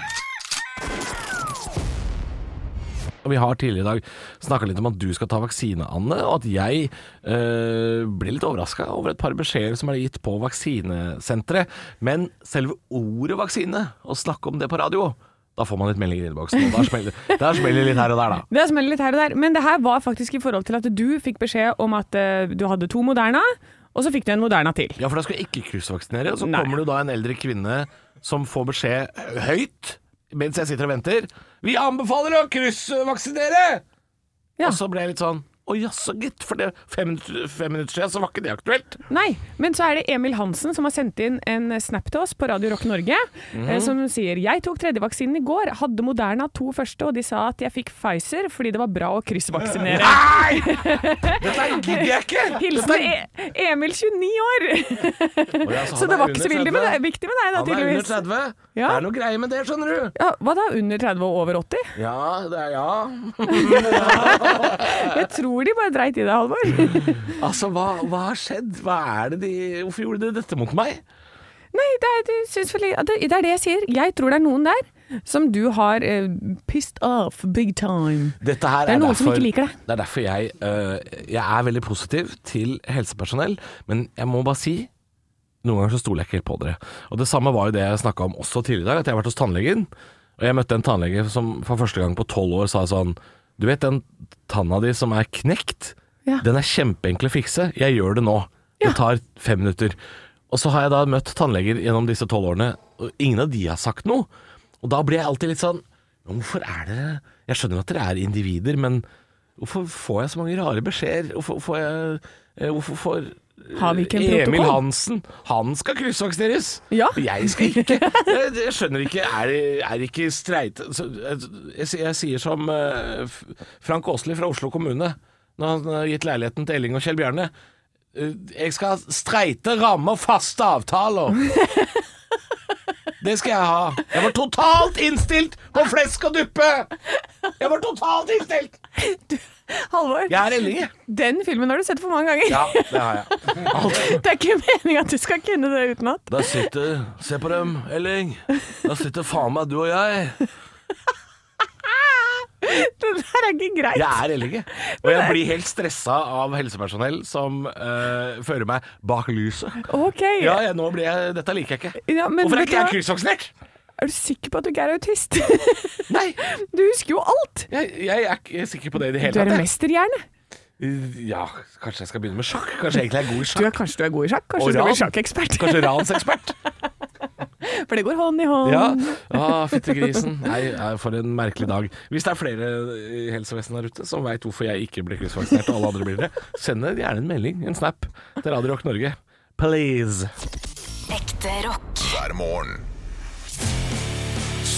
Speaker 3: Og vi har tidligere i dag snakka litt om at du skal ta vaksine, Anne, og at jeg eh, ble litt overraska over et par beskjeder som er gitt på vaksinesenteret. Men selve ordet vaksine, å snakke om det på radio, da får man litt meldinger i innboksen. og Da smeller der smeller det litt her og der, da.
Speaker 4: (laughs) Det smeller litt her og der, men det her var faktisk i forhold til at du fikk beskjed om at eh, du hadde to Moderna, og så fikk du en Moderna til.
Speaker 3: Ja, for da skal jeg ikke kryssvaksinere. Og så
Speaker 4: Nei.
Speaker 3: kommer det da en eldre kvinne som får beskjed høyt mens jeg sitter og venter. Vi anbefaler å kryssvaksinere! Og
Speaker 4: Ja.
Speaker 3: så ble jeg litt sånn å jaså, gitt. For det fem, minutter- fem minutter siden så var ikke det aktuelt.
Speaker 4: Nei, men så er det Emil Hansen som har sendt inn en snap til oss på Radio Rock Norge,
Speaker 3: Mhm.
Speaker 4: eh, som sier «Jeg tok tredje vaksinen i går, hadde Moderna to første, og de sa at jeg fikk Pfizer fordi det var bra å kryssvaksinere».
Speaker 3: Dette gidder jeg ikke!
Speaker 4: (laughs) Hilsen e Emil, 29 år! Så det var ikke så vildig med det, viktig med deg da,
Speaker 3: Han er under
Speaker 4: tydeligvis.
Speaker 3: 30.
Speaker 4: Ja.
Speaker 3: Det er noe greie med det, skjønner du.
Speaker 4: Ja, hva da, under 30 og over 80?
Speaker 3: Ja, det er ja.
Speaker 4: Jeg tror de bare dreit i deg,
Speaker 3: (laughs)
Speaker 4: Halvor.
Speaker 3: Altså, hva, hva har skjedd? Hva er det de Hvorfor gjorde de dette mot meg?
Speaker 4: Nei, det er, det, syns vel- ja, det, det er det jeg sier. Jeg tror det er noen der som du har eh, pissed off big time.
Speaker 3: Dette her
Speaker 4: Det er noen som
Speaker 3: derfor-
Speaker 4: ikke liker det.
Speaker 3: Det er derfor jeg øh, Jeg er veldig positiv til helsepersonell, men jeg må bare si noen ganger så stoler jeg ikke helt på dere. Og det samme var jo det jeg snakka om også tidligere i dag, at jeg har vært hos tannlegen. Og jeg møtte en tannlege som for første gang på tolv år sa sånn Du vet den tanna di som er knekt?
Speaker 4: Ja.
Speaker 3: Den er kjempeenkel å fikse. Jeg gjør det nå.
Speaker 4: Ja.
Speaker 3: Det tar fem minutter. Og så har jeg da møtt tannleger gjennom disse tolv årene, og ingen av de har sagt noe. Og da blir jeg alltid litt sånn Hvorfor er dere Jeg skjønner at dere er individer, men hvorfor får jeg så mange rare beskjeder? Hvorfor får jeg eh, Hvorfor får
Speaker 4: Har vi ikke en
Speaker 3: Emil
Speaker 4: protokoll?
Speaker 3: Hansen, han skal kryssvaksineres.
Speaker 4: Ja.
Speaker 3: Jeg skal ikke. Jeg, jeg skjønner ikke Er, det- er det ikke streit så, jeg, jeg, sier- jeg sier som eh, F- Frank Åsli fra Oslo kommune, når han har gitt leiligheten til Elling og Kjell Bjarne. Eh, Jeg skal ha streite rammer, faste avtaler. Det skal jeg ha. Jeg var totalt innstilt på flesk og duppe! Jeg var totalt innstilt!
Speaker 4: Halvor,
Speaker 3: Jeg er Elling, jeg.
Speaker 4: den filmen har du sett for mange ganger.
Speaker 3: Ja, det har jeg.
Speaker 4: (laughs) Det er ikke meningen at du skal kunne det utenat.
Speaker 3: Der sitter Se på dem, Elling. Der sitter faen meg du og jeg.
Speaker 4: Det der er ikke greit.
Speaker 3: Jeg er Elling, jeg. Og jeg blir helt stressa av helsepersonell som eh, fører meg bak lyset.
Speaker 4: Ok,
Speaker 3: Ja, jeg, nå blir jeg Dette liker jeg ikke.
Speaker 4: Ja, men
Speaker 3: Hvorfor er
Speaker 4: vet du
Speaker 3: ikke jeg
Speaker 4: hva?
Speaker 3: kryssvaksinert?
Speaker 4: Er du sikker på at du ikke er autist? (laughs)
Speaker 3: Nei,
Speaker 4: Du husker jo alt!
Speaker 3: jeg, jeg er ikke sikker på det i det
Speaker 4: Du
Speaker 3: hele
Speaker 4: er en
Speaker 3: tatt. jeg.
Speaker 4: mesterhjerne.
Speaker 3: Ja, kanskje jeg skal begynne med sjakk? Kanskje jeg egentlig er god i
Speaker 4: Du er,
Speaker 3: sjakk?
Speaker 4: kanskje du er god i sjakk? Kanskje
Speaker 3: Og
Speaker 4: du skal bli
Speaker 3: ran.
Speaker 4: sjakkekspert?
Speaker 3: Kanskje ransekspert?
Speaker 4: For det går hånd i hånd.
Speaker 3: Ja, ah, fittegrisen. Nei, nei, for en merkelig dag. Hvis det er flere eh, i helsevesenet der ute som veit hvorfor jeg ikke blir kryssvaksinert, og alle andre blir det, send det gjerne en melding, en snap, til Radio Rock Norge. Please.
Speaker 1: Ekte rock.
Speaker 2: hver morgen.